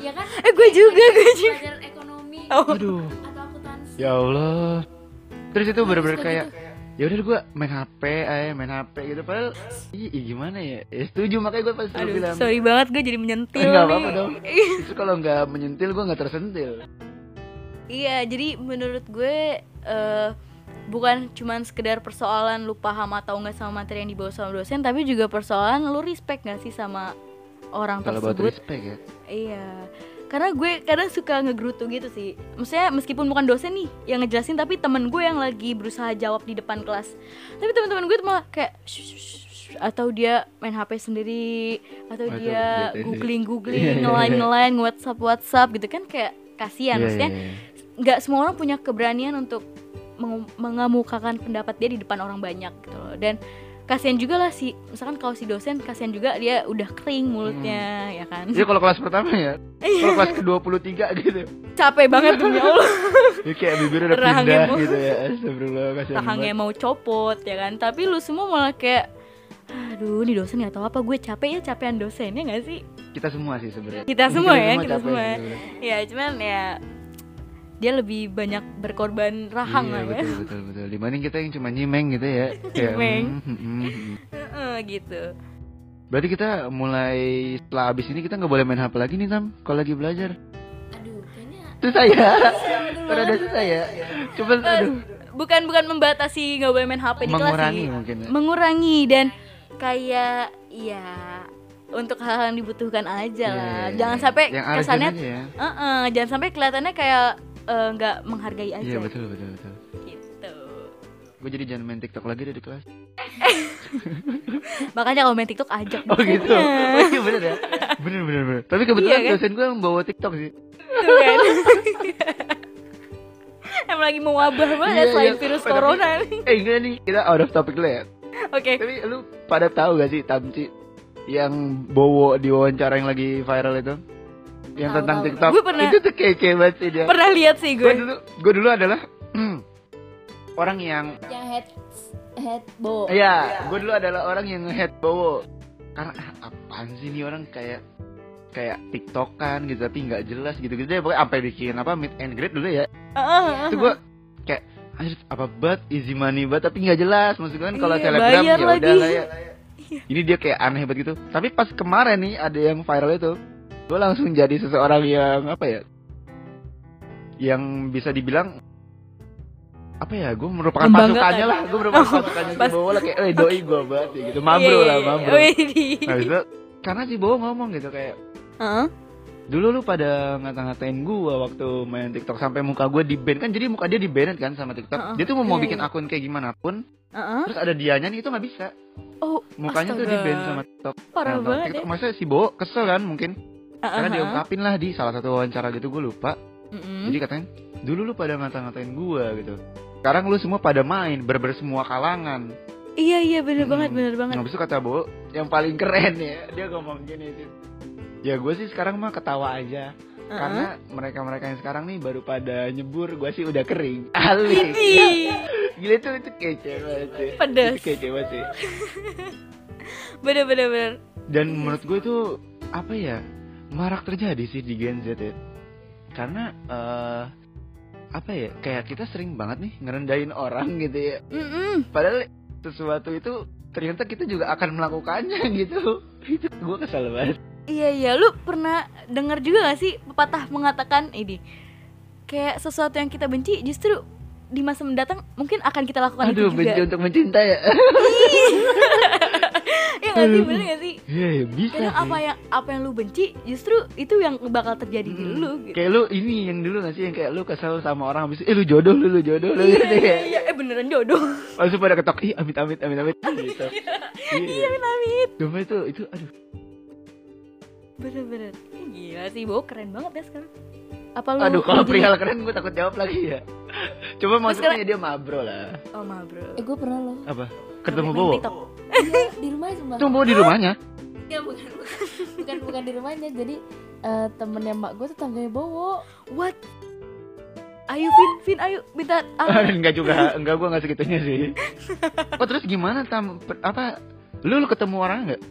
Iya kan? Eh gue juga gue juga. Pelajaran ekonomi Oh. Aduh. atau akuntansi. Ya Allah. Terus itu bener-bener suka kayak gitu. ya udah gue main HP aja main HP gitu padahal iya gimana ya, ya setuju makanya gue pas dulu Aduh, bilang sorry banget gue jadi menyentil Nggak nih. apa-apa dong. Justru kalau nggak menyentil gue nggak tersentil. Iya, jadi menurut gue eh, bukan cuman sekedar persoalan lu paham atau enggak sama materi yang dibawa sama dosen, tapi juga persoalan lu respect gak sih sama orang Kalau buat tersebut. respect ya. Iya. Karena gue kadang suka ngegrutu gitu sih. Maksudnya meskipun bukan dosen nih yang ngejelasin tapi temen gue yang lagi berusaha jawab di depan kelas. Tapi teman-teman gue tuh malah kayak "Shh, shh, shh, shh," atau dia main HP sendiri atau Waduh, bete dia sih. Iya, iya, googling-googling, iya. ngelain-ngelain, WhatsApp WhatsApp gitu kan kayak kasihan Iya, maksudnya. iya, iya. Nggak semua orang punya keberanian untuk mengu- mengemukakan pendapat dia di depan orang banyak gitu loh. Dan kasihan juga lah si misalkan kalau si dosen kasihan juga dia udah kering mulutnya Hmm. ya kan. Jadi kalau kelas pertama ya, Iya. kalau kelas ke-23 gitu. capek banget demi Allah Ya kayak bibirnya udah Rahangnya pindah mau- gitu ya. Astagfirullah kasihan rahangnya banget. mau copot ya kan tapi lu semua malah kayak "Ah, aduh ini dosen nggak tahu apa gue capek ya capean dosennya nggak sih Kita semua sih sebenarnya. kita semua ya kita capek semua sebenarnya. ya cuman ya dia lebih banyak berkorban iya, rahang lah ya betul, betul, betul. Dibanding kita yang cuma nyimeng gitu ya. Kayak, Nyimeng. mm, mm, mm, mm. Heeh, gitu Berarti kita mulai setelah abis ini kita nggak boleh main HP lagi nih Tam, kalau lagi belajar. aduh kayaknya Susah ya. bener Terada susah ya. Iya. Cuman aduh. bukan bukan membatasi nggak boleh main HP di kelas Mengurangi sih. mungkin ya. mengurangi dan kayak ya untuk hal-hal yang dibutuhkan aja Iya, lah iya, iya. jangan sampai yang urgent kesannya aja ya. Heeh, jangan sampai kelihatannya kayak eh, nggak menghargai aja Iya betul betul betul. gitu Gue jadi jangan main TikTok lagi deh di kelas. makanya kalau main TikTok ajak Oh gitu. dosennya. Oh, iya bener ya. Bener bener bener. Tapi kebetulan Iya, kan? dosen gue membawa TikTok sih. Tuh kan. Emang lagi mewabah banget Iya, selain iya. virus Oh, tapi- corona nih. Eh enggak nih, kita out of topic lah ya. Oke. Tapi lu pada tahu gak sih Tamci yang Bowo di wawancara yang lagi viral itu? Yang Tahu, tentang tahu. TikTok. Gue pernah- Itu tuh kece banget sih dia. Pernah lihat sih Gue gue. dulu gue dulu adalah orang yang yang Ya, head head bo Eh. Iya, gue dulu adalah orang yang nge-hate Bowo Karena ah, apaan sih nih orang kayak kayak tiktokan gitu tapi nggak jelas gitu gitu ya pokoknya sampai bikin apa mid and grade dulu ya Heeh, itu gue kayak anjir apa banget easy money banget tapi nggak jelas maksudnya kan kalau Iya, selebgram ya bayar lagi. Iya. udah lah ya ini dia kayak aneh banget gitu tapi pas kemarin nih ada yang viral itu gue langsung jadi seseorang yang apa ya yang bisa dibilang apa ya gue merupakan Membanggakan. pasukannya lah gue merupakan Oh, pasukannya si pas- Bowo lah kayak eh doi gue banget ya gitu mabro Iya, lah iya, mabro Nah, iya. Widih. Habis itu, karena si Bowo ngomong gitu kayak Heeh. dulu lu pada ngata-ngatain gua waktu main TikTok sampai muka gua di ban kan jadi muka dia di ban kan sama TikTok Heeh. dia tuh mau mau Iya, bikin iya. akun kayak gimana pun Heeh. terus ada dianya nih itu nggak bisa Oh, mukanya tuh di astaga. ban sama TikTok parah Nah, banget. TikTok ya. maksudnya si Bowo kesel kan mungkin Heeh, karena heeh. diungkapin lah di salah satu wawancara gitu gua lupa Mm-mm. jadi katanya dulu lu pada ngata-ngatain gua gitu sekarang lu semua pada main berber semua kalangan Iya, iya bener Hmm. banget, bener banget. Habis itu kata Bo, yang paling keren ya, dia ngomong gini sih. Ya gue sih sekarang mah ketawa aja Heeh. Karena mereka-mereka yang sekarang nih baru pada nyebur Gue sih udah kering Alis Ih, Gila itu, itu kece banget sih Iya. Pedes. Itu kece banget sih Bener, bener, bener. Iya. Dan menurut gue itu Apa ya Marak terjadi sih di Gen Z ya Karena eh, Apa ya Kayak kita sering banget nih Ngerendahin orang gitu ya Mm-mm. Padahal sesuatu itu Ternyata kita juga akan melakukannya gitu Itu gue kesel banget Iya iya, lu pernah dengar juga gak sih pepatah mengatakan ini kayak sesuatu yang kita benci justru di masa mendatang mungkin akan kita lakukan Aduh, itu benci juga. untuk mencinta ya. Iya gak sih, bener gak sih? Iya, ya, bisa. Kadang sih. apa yang apa yang lu benci justru itu yang bakal terjadi di Hmm. lu gitu. Kayak lu ini yang dulu gak sih yang kayak lu kesel sama orang habis eh lu jodoh lu lu jodoh lu gitu Iya, ya. iya, eh beneran jodoh. Langsung pada ketok, ih amit amit amit amit gitu. Iya. Amin amin. Cuma itu itu aduh. Bener-bener. Ih, Gila sih, Bo keren banget ya sekarang. Apa lu Aduh, kalau Oh, jadi- perihal keren gue takut jawab lagi ya. Cuma maksudnya sekarang- dia mabro lah. Oh, ma, bro. eh gue pernah loh Apa? Ketemu Main Bowo. TikTok. Iya, di rumahnya sumpah Ketemu Bowo di rumahnya. Iya, bukan bukan bukan bukan di rumahnya jadi eh, temennya mak gue tetangganya bowo What? Ayo Vin, Vin ayo minta ah, enggak juga, enggak gua enggak segitunya sih. Oh, terus gimana tam per- apa lu, lu ketemu orang enggak?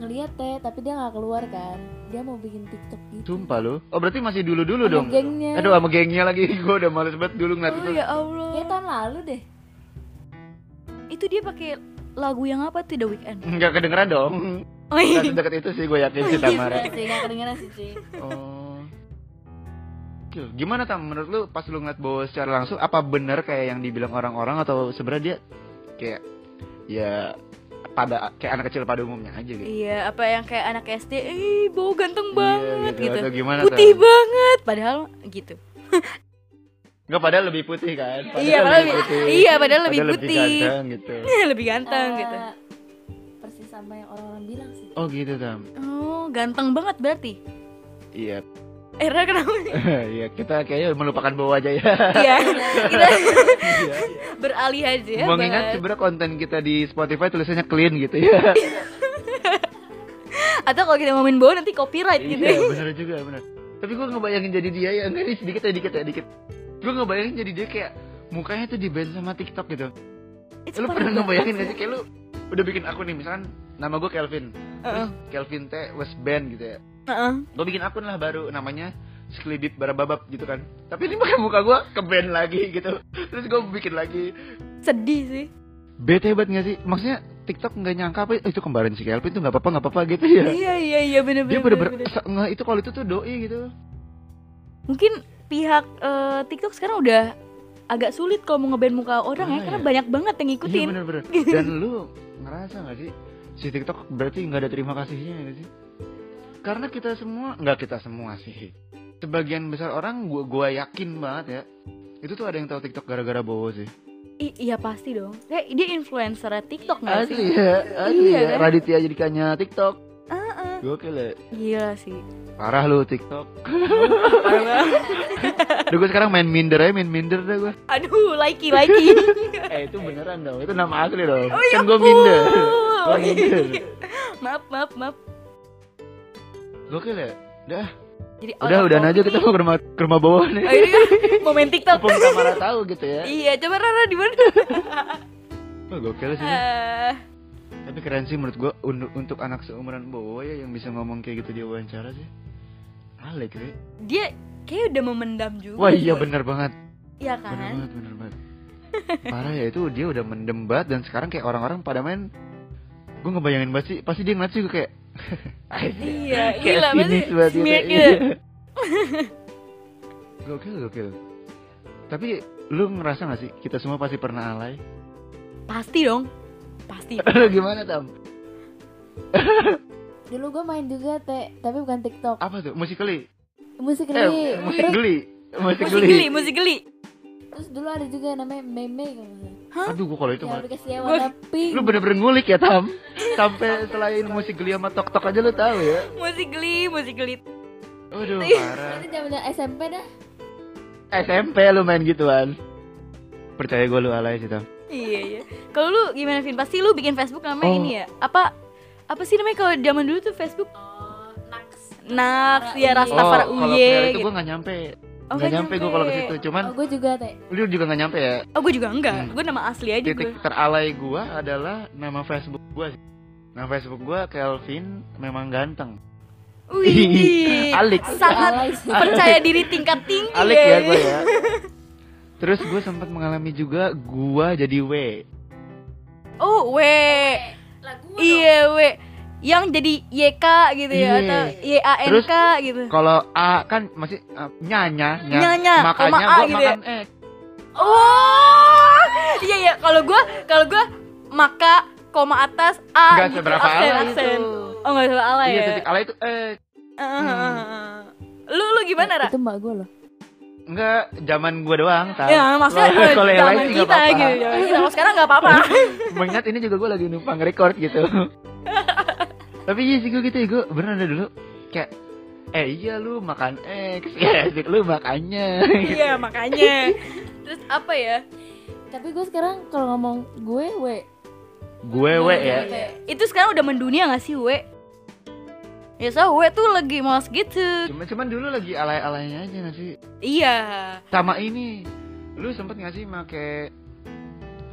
ngeliat teh tapi dia nggak keluar kan dia mau bikin tiktok gitu Sumpah lu. Oh, berarti masih dulu-dulu Sama dong. gengnya Aduh sama gengnya lagi Gue udah males banget dulu ngeliat Oh itu ya Allah. ya tahun lalu deh Itu dia pakai lagu yang apa tuh The Weeknd? Nggak kedengeran dong Oh Nggak iya. sedekat itu sih gue yakin sih Tamara Nggak sih nggak kedengeran sih cuy Oh Gil, Gimana Tam menurut lu pas lu ngeliat Bowo secara langsung Apa bener kayak yang dibilang orang-orang Atau sebenarnya dia kayak Ya pada kayak anak kecil pada umumnya aja gitu Iya, apa yang kayak anak SD, eh bau ganteng banget gitu, gitu. Atau gimana Putih Tam? banget padahal gitu. Nggak padahal lebih putih kan Iya, padahal lebih- iya, padahal lebih putih. ganteng gitu Lebih ganteng gitu. Eh, persis sama yang orang-orang bilang sih Oh gitu Tam Oh, ganteng banget berarti. Iya Eh, Ra, kenapa? Iya kita kayaknya melupakan Bowo aja ya Iya, kita beralih aja ya. Mengingat bahas- sebenarnya konten kita di Spotify tulisannya clean gitu ya. Atau kalau kita ngomongin bau nanti copyright gitu. iya, benar juga, benar. Tapi gue ngebayangin jadi dia ya, enggak nih sedikit ya, dikit ya, dikit. Gue ngebayangin jadi dia kayak mukanya tuh di band sama TikTok gitu. It's lu fun pernah banget. ngebayangin gak sih kayak lu udah bikin akun nih misalkan nama gue Kelvin terus Kelvin T West Band gitu ya Heeh. gue bikin akun lah baru namanya sekelidip barababab gitu kan tapi ini pakai muka gue ke band lagi gitu terus gue bikin lagi Sedih sih. bete banget gak sih maksudnya TikTok nggak nyangka apa "Eh, itu kembaran si Kelvin tuh nggak apa-apa nggak apa-apa gitu ya Iya iya iya bener dia bener. bener-bener bener, bener. se- nggak, itu kalau itu tuh doi gitu Mungkin pihak eh, TikTok sekarang udah agak sulit kalau mau ngeband muka orang ya Ah, karena iya. banyak banget yang ngikutin. Iya bener-bener Dan lu ngerasa gak sih Si TikTok berarti nggak ada terima kasihnya gak sih Karena kita semua nggak kita semua sih Sebagian besar orang gua, gua yakin banget ya Itu tuh ada yang tahu TikTok gara-gara Bowo sih I- iya pasti dong. Dia, dia influencer TikTok nggak sih? Asli ya Asli Iya, ya kan? Raditya Jadikannya TikTok Heeh. Gokil ya Ah, Gila sih. Parah lu TikTok Duh gue sekarang main minder aja Main minder dah gue Aduh, likey likey. Eh itu beneran dong Itu nama asli dong Oh, ya Kan gue ampun. minder Gue iya, minder maaf maaf maaf. Gokil ya Dah Jadi Udah out of udahan aja topic. kita mau ke rumah, ke rumah bawah nih ya Oh, ini kan mau main TikTok. Mumpung Tamara tahu gitu ya. iya, coba Rara di mana? Oh, gokil sih. Eh, Tapi keren sih menurut gua untuk, untuk anak seumuran Bowo ya yang bisa ngomong kayak gitu di wawancara sih. Alek ya. dia kayak udah memendam juga. Wah, iya bener banget. Iya Bener kan? banget, bener banget. Parah ya itu dia udah mendembat dan sekarang kayak orang-orang pada main Gua ngebayangin banget sih, pasti dia ngeliat sih gua kayak Iya, kayak gila pasti sinis banget gitu. smirk Iya. gitu. gokil, gokil. Tapi lu ngerasa gak sih kita semua pasti pernah alay? Pasti dong. Pasti. Lu gimana Tam? dulu gue main juga teh tapi bukan TikTok Apa tuh? Musikali? musik Eh, geli musik terus, geli. Musik Musik geli. geli, musik geli. terus dulu ada juga namanya meme kalau nggak salah. Aduh, gua kalau itu Ya, yang mah. dikasih yang warna pink Lu bener-bener ngulik ya, Tam. Sampai selain musik geli sama tok-tok aja lu tahu ya. Musik geli, musik geli. Waduh, Iya. parah. itu zamannya SMP dah SMP lu main gituan. Percaya gua lu alay sih, Tam. Iya, iya. Kalau lu gimana Vin? Pasti lu bikin Facebook namanya Oh. ini ya. Apa apa sih namanya kalau zaman dulu tuh Facebook? Naks, ya Rastafari Oh, kalau Prel Uye itu gitu. gua gak nyampe. Oh, gak nggak nyampe gua nyampe. kalau ke situ. Cuman oh gue juga teh lu juga gak nyampe ya. Oh, gue juga enggak. Hmm. Gue nama asli aja gue. Titik teralay gua adalah nama Facebook gua sih. Nama Facebook gua Kelvin memang ganteng. Wih, Alik. sangat Alay sih. percaya diri tingkat tinggi. Alik ya gua ya. Terus gue sempat mengalami juga gua jadi W. Oh, we. Iya, we. Yang jadi YK gitu ya Iya. atau YANK gitu. Kalau A kan masih uh, nyanya, nya. Nyanya, makanya koma A gua gitu ya. makan X. Oh. Iya, iya. Kalau gua kalau gua maka koma atas A Nggak gitu, seberapa aksen, ala aksen. itu. Oh, enggak seberapa ala Iya, ya. titik Hmm. ala itu X. Ah, ah, ah, ah. Lu lu gimana, Ra? Nah, itu mbak gue loh Enggak, zaman gua doang, tahu. Ya, maksudnya Kalau- kalau yang zaman lain sih nggak kita apa-apa. gitu. zaman kita. Kalau sekarang enggak apa-apa. Mengingat ini juga gua lagi numpang record gitu. Tapi iya sih gua gitu ya, gua bener ada dulu kayak eh iya lu makan X, ya asik lu makannya. Iya, makanya. Terus apa ya? tapi gue sekarang kalau ngomong gue we gue W ya. Itu sekarang udah mendunia gak sih, We? Ya, so We tuh lagi males gitu. Cuman cuman dulu lagi alay-alaynya aja nggak sih? Iya. sama ini lu sempet nggak sih make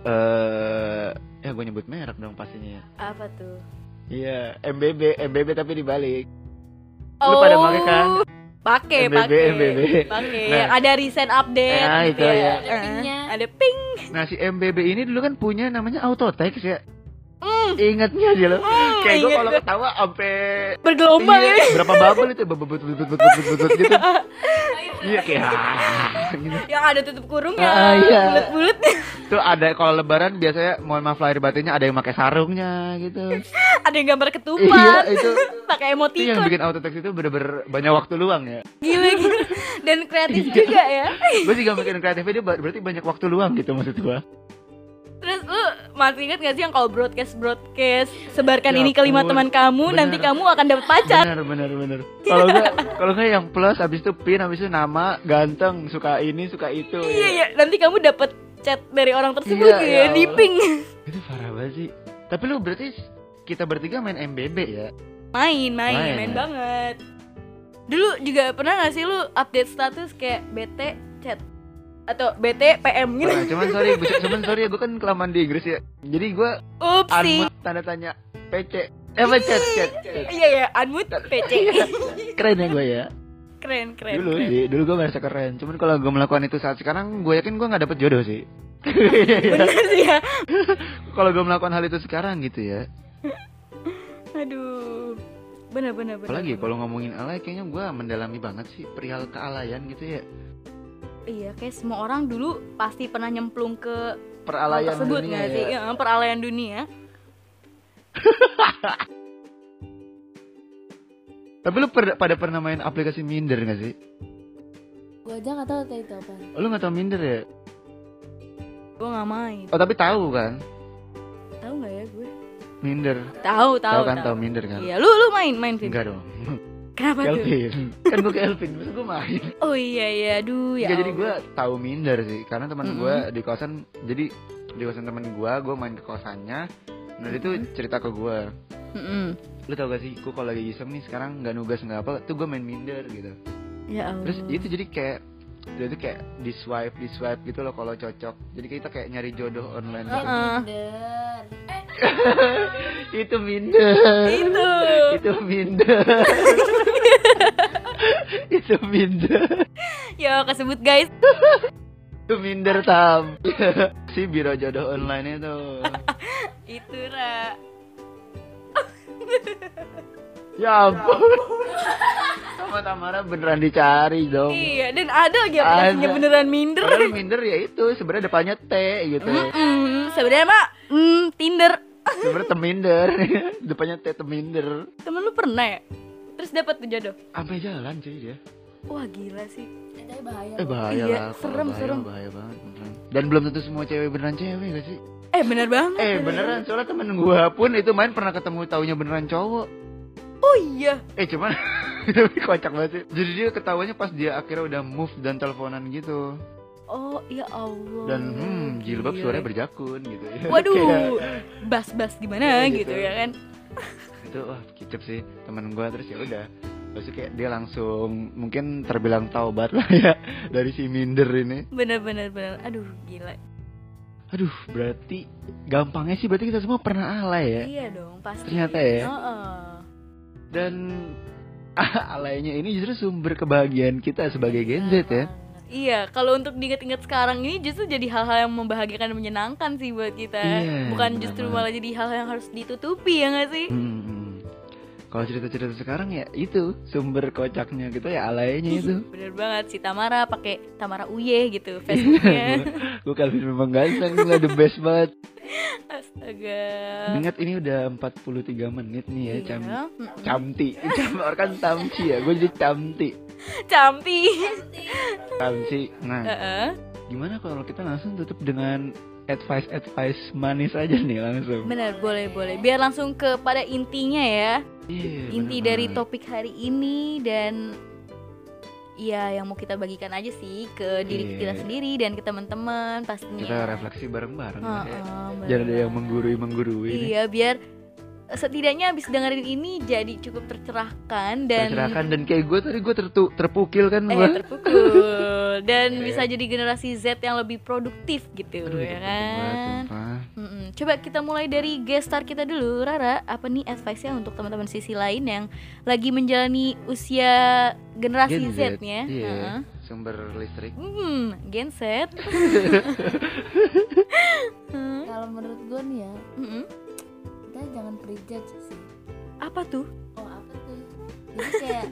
eh ya gue nyebut merek dong pastinya ya Apa tuh? iya MBB MBB tapi dibalik Lu pada pakai kan? Pakai, MBB, pakai. MBB. Pakai. Nah. Yang Ada recent update. Nah, gitu itu ya. Ada Ada pingnya. Ada ping. nah si MBB ini dulu kan punya namanya Autotex ya Ingatnya aja lo Kayak gue Hmm. ingat kalau gua. ketawa ampe Bergelombang Iya, ini. Berapa bubble itu bubble bubble bubble bubble bubble bubble gitu Iya kayak "Ah," gitu. Yang ada tutup ya. kurungnya. Ah, iya. Bulat-bulat. Tuh ada kalau lebaran biasanya mohon maaf lahir batinnya ada yang pakai sarungnya gitu ada yang gambar Iya ketupat. itu Itu pakai yang emoticon. bikin Autotex itu bener-bener banyak waktu luang ya Gila, gila. Dan kreatif Iya. juga ya. gue juga mikirin kreatifnya dia ber- berarti banyak waktu luang gitu maksud gue Terus lu masih ingat gak sih yang kalau broadcast broadcast sebarkan Ya ini ke lima ampun. teman kamu nanti Bener. kamu akan dapat pacar. benar benar benar kalau gue kalau gue yang plus habis itu pin habis itu nama ganteng suka ini suka itu Iya ya. iya nanti kamu dapat chat dari orang tersebut Iya, gitu ya ya, di Allah. ping. itu parah banget sih tapi lu berarti kita bertiga main MBB ya Main main Main. main, banget. Dulu juga pernah gak sih lu update status kayak bete chat atau BT PM gitu. Parah, Nah, cuman sorry, bu- cuman sorry ya, gue kan kelamaan di Inggris ya. Jadi gue Upsi. unmute tanda tanya PC. Eh, apa, chat, chat, chat. Iya ya, unmute PC. Keren ya gue ya. keren, keren. Dulu keren. sih, dulu gue merasa keren. Cuman kalau gue melakukan itu saat sekarang, gue yakin gue nggak dapet jodoh sih. Bener sih ya. kalau gue melakukan hal itu sekarang gitu ya. Aduh. Bener, bener, bener. Apalagi ya, bener. kalau ngomongin alay, kayaknya gue mendalami banget sih perihal kealayan gitu ya. Iya, kayak semua orang dulu pasti pernah nyemplung ke hal Peralayan tersebut dunia nggak sih? ya. Iya, peralayan dunia. Tapi lu per- pada pernah main aplikasi Minder gak sih? Gue aja nggak tahu tadi itu apa. Lu gak tau Minder ya? Gue nggak main. Oh tapi tahu kan? Tahu nggak ya gue? Minder. Tahu, tahu, Tahu kan tahu Minder kan? Iya, lu lu main main Vin. Enggak dong. Kenapa tuh? Kelvin. kan gue Kelvin, masa gue main. Oh iya iya, aduh ya. Nggak, jadi Allah. gue tahu Minder sih, karena teman Mm-mm. gue di kosan, jadi di kosan teman gue, gue main ke kosannya. Nah dia tuh cerita ke gue, Mm-mm. lu tau gak sih, gue kalau lagi iseng nih sekarang nggak nugas nggak apa, tuh gue main Minder gitu. Ya Allah. Terus itu jadi kayak dia tuh kayak di swipe di swipe gitu loh kalau cocok. Jadi kita kayak nyari jodoh online. gitu. Heeh. Tinder. itu minder Itu. itu minder itu minder Ya kesebut guys. itu minder tam si biro jodoh online itu Itu Ra. ya ampun sama Tamara beneran dicari dong Iya, dan ada lagi aplikasinya Ada. beneran minder. Padahal minder ya itu sebenarnya depannya T gitu Mm-mm. Sebenarnya mah mm, Tinder. sebenarnya teminder depannya T teminder Temen lu pernah ya? Terus dapat tuh jodoh. sampai jalan sih dia Wah gila sih. Eh, tapi bahaya. eh bahaya Iya, lah kalau serem, bahaya, serem. bahaya banget beneran. dan belum tentu semua cewek beneran cewek gak sih Eh bener banget. Eh beneran soalnya temen gua pun itu main pernah ketemu taunya beneran cowok Oh iya. Eh cuman tapi kocak banget sih Jadi dia ketawanya pas dia akhirnya udah move dan teleponan gitu Oh ya Allah. Dan hmm jilbab Gila. suaranya berjakun gitu ya Kayak, iya. Waduh. Bas-bas gimana Iya, gitu. gitu. ya kan? Itu wah gitu, oh, kicep sih temen gua terus ya udah Terus kayak dia langsung mungkin terbilang taubat lah ya Dari si minder ini Bener bener bener. Aduh gila. Aduh berarti gampangnya sih berarti kita semua pernah alay ya Iya dong pasti. Ternyata ya. Heeh. Dan alaynya ini justru sumber kebahagiaan kita sebagai Gen Z ya Iya, kalau untuk diingat-ingat sekarang ini justru jadi hal-hal yang membahagiakan dan menyenangkan sih buat kita. Iya, Bukan benar justru banget. malah jadi hal yang harus ditutupi ya nggak sih? Hmm. Kalau cerita-cerita sekarang ya itu sumber kocaknya gitu ya alaynya itu. Bener banget si Tamara pakai Tamara Uye Iya, gitu Facebooknya. Gue Calvin memang ganteng lah the best banget. Astaga. Ingat ini udah 43 menit nih ya cam Iya, mm-mm. camti. Cam orang kan tamci ya. Gue jadi camti. Campi. Tamci. Nah, Heeh. gimana kalau kita langsung tutup dengan advice advice manis aja nih langsung. Bener, boleh boleh. Biar langsung kepada intinya ya. Iya, Inti bener dari banget. topik hari ini dan ya yang mau kita bagikan aja sih ke diri Iya. kita sendiri dan ke teman-teman pastinya. kita refleksi bareng-bareng. Heeh, ya. Ah, bener Jangan ada yang banget. menggurui menggurui. Iya, biar setidaknya abis dengerin ini jadi cukup tercerahkan dan Tercerahkan dan kayak gue tadi gue tertu- terpukil kan eh gue. terpukul dan Iya. bisa jadi generasi Z yang lebih produktif gitu Aduh, itu penting ya banget, kan. sumpah. Mm-mm. Coba kita mulai dari guest star kita dulu, Rara. Apa nih advice-nya untuk teman-teman sisi lain yang lagi menjalani usia generasi Gen Z, Z-nya? iya. Heeh. Sumber listrik. Hmm, Gen Z. Hmm? Kalau menurut gue nih ya, Mm-mm. kita jangan prejudge sih. Apa tuh? Oh apa tuh? Jadi kayak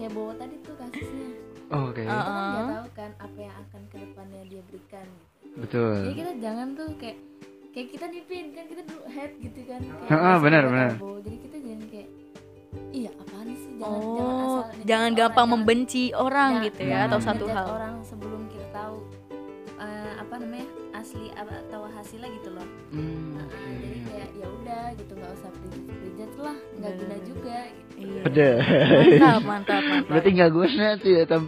kayak bawa tadi tuh kasusnya. Oh, Oke, Kita kan Heeh. nggak tahu kan apa yang akan kedepannya dia berikan. gitu. betul. Jadi Iya, kan? kita jangan tuh kayak kayak kita nipin kan kita dulu head gitu kan. Kayak Heeh, pasti Ah, benar, kita benar. tahu. Jadi kita jangan kayak iya apaan sih jangan Oh, jangan jangan asal ngejudge orang, ya. Iya, gampang jangan- nah, membenci orang jangan- gitu ya jangan atau satu ngejudge hal. orang sebelum kita tahu eh, apa namanya asli apa- atau hasilnya gitu loh Hmm, Nah, oke. jadi kayak ya udah gitu nggak usah prejudge prejudge lah nggak guna Bener. juga gitu. Iya. Pedas. Mantap, mantap, mantap. Berarti nggak gue nanti ya tam.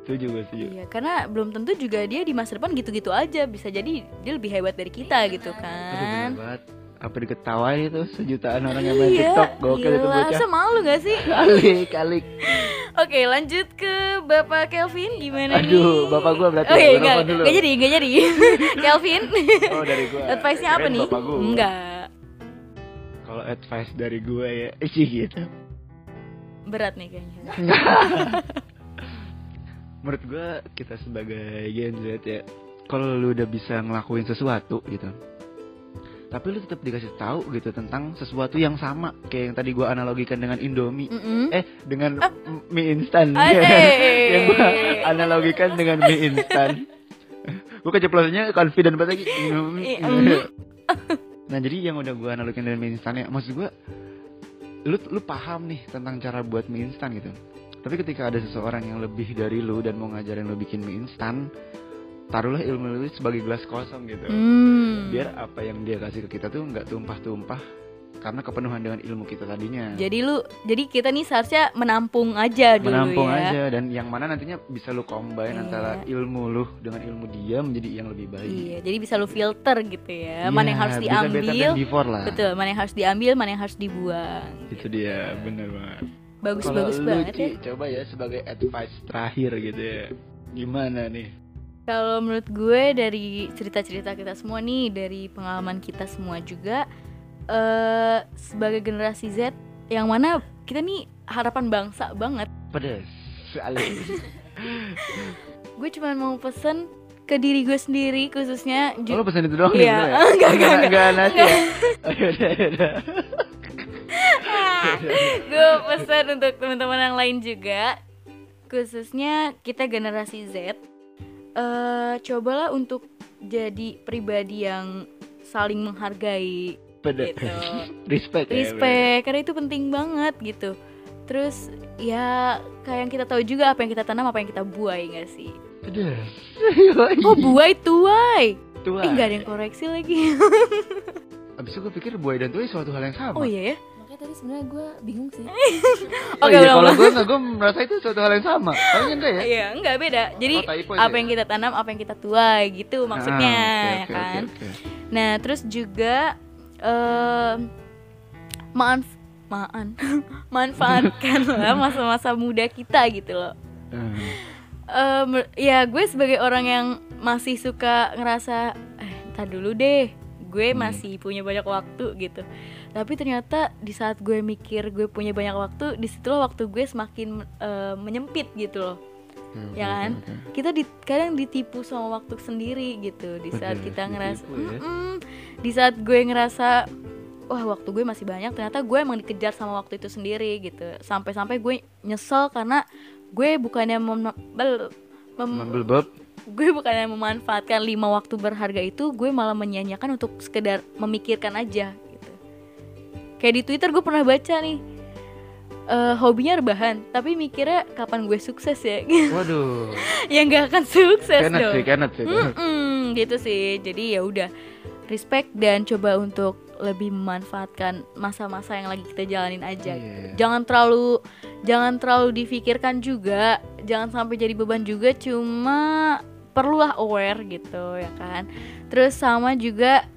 Setuju gue setuju. Iya, karena belum tentu juga dia di masa depan gitu-gitu aja. Bisa jadi dia lebih hebat dari kita Iya, gitu Aduh bener kan. banget. Apa diketawain itu sejutaan orang yang main Iya, TikTok gokil itu gila. bocah. Masa malu gak sih? Alik, alik. Oke lanjut ke Bapak Kelvin gimana nih? Aduh, Bapak gua berarti, ya, Oke gua nggak nelfon dulu. nggak jadi nggak jadi Kelvin Oh dari gue. Advice-nya apa nih? Bapak gue. Enggak Kalau advice dari gue ya, sih gitu. Berat nih kayaknya Menurut gue kita sebagai Gen Z ya, kalau lu udah bisa ngelakuin sesuatu gitu, tapi lu tetap dikasih tahu gitu tentang sesuatu yang sama kayak yang tadi gue analogikan dengan Indomie. Mm-mm. Eh dengan m- mie instan ya kan? Ah, eh. yang gue analogikan dengan mie instan. gue keceplosannya confident banget lagi. Iya. nah jadi yang udah gue analogikan dengan mie instan ya, maksud gue, lu lu paham nih tentang cara buat mie instan gitu. Tapi ketika ada seseorang yang lebih dari lu dan mau ngajarin lu bikin mie instan, taruhlah ilmu lu sebagai gelas kosong gitu. Hmm. Biar apa yang dia kasih ke kita tuh nggak tumpah-tumpah karena kepenuhan dengan ilmu kita tadinya. Jadi lu jadi kita nih seharusnya menampung aja dulu menampung ya. aja dan yang mana nantinya bisa lu combine Iya. antara ilmu lu dengan ilmu dia menjadi yang lebih baik. Iya, jadi bisa lu filter gitu Iya, ya. mana yang harus bisa better diambil? than before lah. Betul, mana yang harus diambil, mana yang harus dibuang. Itu dia, bener banget. Kalau Bagus-bagus lu, banget Ci, ya. coba ya sebagai advice terakhir gitu ya. Gimana nih? Kalau menurut gue dari cerita-cerita kita semua nih, dari pengalaman kita semua juga eh sebagai generasi Z yang mana kita nih harapan bangsa banget. Pedes. Alis. Gue cuma mau pesen ke diri gue sendiri khususnya ju- Oh, lu pesan itu doang Iya, nih? enggak, enggak, enggak. Enggak, nasi ya? Oh, yaudah, yaudah. gue pesan untuk teman-teman yang lain juga khususnya kita generasi Z eh cobalah untuk jadi pribadi yang saling menghargai Pedes. gitu Respect ya, bener. respect karena itu penting banget gitu terus ya kayak yang kita tahu juga apa yang kita tanam apa yang kita buai nggak sih Pedes. Hmm. oh buai tuai Tua. eh nggak ada yang koreksi lagi Abis itu gue pikir buaya dan tuai suatu hal yang sama. oh iya ya makanya tadi sebenarnya gue bingung sih Oh oke iya, ulang kalau ulang gue nggak, gue merasa itu suatu hal yang sama. Kalian enggak ya? Iya, nggak beda. Jadi Oh, typo aja apa ya? yang kita tanam, apa yang kita tuai gitu maksudnya, Ah, ya oke, oke, kan? oke, oke. Nah, terus juga eh maaf maan manfaatkanlah masa-masa muda kita gitu loh. Hmm. Eh, mer- ya gue sebagai orang yang masih suka ngerasa eh entar dulu deh. Gue Hmm. masih punya banyak waktu gitu. Tapi ternyata di saat gue mikir gue punya banyak waktu, disitulah waktu gue semakin eh, menyempit gitu loh. Oke, oke, Ya kan? oke. kita di, kadang ditipu sama waktu sendiri gitu di saat Bener, kita ngerasa ditipu ya. Mm-mm. di saat gue ngerasa wah waktu gue masih banyak ternyata gue emang dikejar sama waktu itu sendiri gitu sampai-sampai gue nyesel karena gue bukannya mem- bel- mem- Mambel bab. gue bukannya memanfaatkan lima waktu berharga itu gue malah menyanyiakan untuk sekedar memikirkan aja gitu kayak di twitter gue pernah baca nih eh, hobinya rebahan tapi mikirnya kapan gue sukses ya Waduh. ya nggak akan sukses Kenet dong. sih, kenet sih. Mm-mm, gitu sih. Jadi ya udah respect dan coba untuk lebih memanfaatkan masa-masa yang lagi kita jalanin aja. gitu. Iya. Jangan terlalu jangan terlalu difikirkan juga, jangan sampai jadi beban juga cuma perlulah aware gitu ya kan. Terus sama juga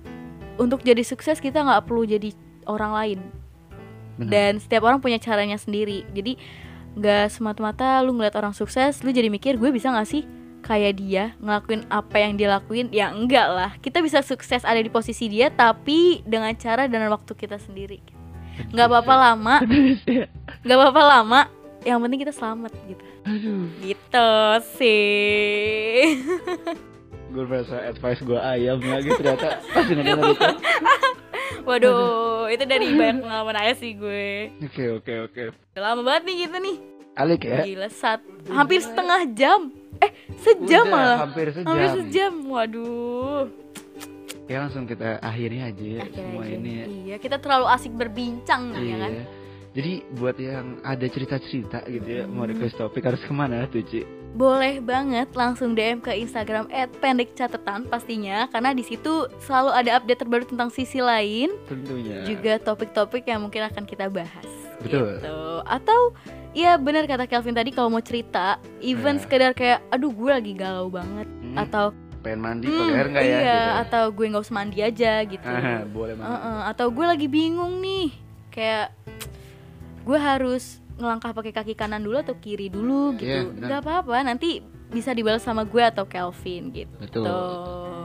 untuk jadi sukses kita nggak perlu jadi orang lain. Benar. Dan setiap orang punya caranya sendiri. Jadi nggak semata-mata lu ngeliat orang sukses, lu jadi mikir gue bisa nggak sih kayak dia ngelakuin apa yang dia lakuin? Ya enggak lah. Kita bisa sukses ada di posisi dia, tapi dengan cara dan waktu kita sendiri. Nggak Iya. apa-apa lama, nggak apa-apa lama. Yang penting kita selamat gitu. Gitu sih. Gue merasa advice gue ayam lagi ternyata pas dengerin itu. Waduh, itu dari banyak pengalaman aja sih gue. Oke oke oke. Udah lama banget nih kita nih. Alik ya. Gila, saat hampir setengah jam. Eh, sejam Udah, malah. Hampir Hampir sejam. sejam. Waduh. Ya langsung kita akhirnya aja ya Akhirnya semua aja. ini ya. Iya, kita terlalu asik berbincang nih ya kan. Iya. Jadi buat yang ada cerita-cerita gitu ya mau Hmm. request topik harus kemana tuh Ci? Boleh banget langsung DM ke Instagram @pendekcatatan pastinya karena di situ selalu ada update terbaru tentang sisi lain Tentunya. juga topik-topik yang mungkin akan kita bahas. Ya. Betul. Gitu. Atau ya benar kata Kelvin tadi kalau mau cerita, Iya. even sekedar kayak aduh gue lagi galau banget Hmm, atau pengen mandi "Hmm, pakai air nggak ya? iya Gitu. atau gue nggak usah mandi aja gitu. Ah, boleh banget. Heeh, atau gue lagi bingung nih kayak gue harus ngelangkah pakai kaki kanan dulu atau kiri dulu gitu. Iya, benar. nggak apa-apa, nanti bisa dibalas sama gue atau Kelvin gitu. Betul.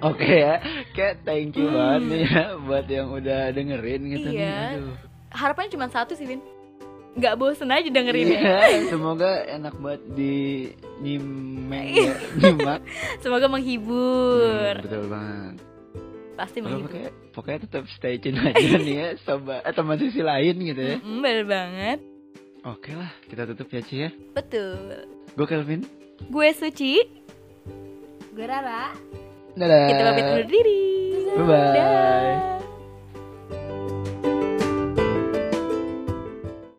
Oke ya, kayak thank you banget nih ya buat yang udah dengerin gitu Iya. nih. Aduh. Harapannya cuma satu sih, Vin. Nggak bosen aja dengerinnya. Iya, semoga enak banget di nyimeng ya, nyimak. Semoga Hmm, menghibur. betul banget. Pasti Kalau menghibur. pokoknya, pokoknya tetap stay tune aja nih ya, sobat eh, teman sisi lain gitu ya. Mm, bener banget. Oke lah, kita tutup ya Ci ya. Betul. Gue Kelvin. Gue Suci. Gue Rara Dadah. Kita pamit undur diri. Bye-bye. Dah.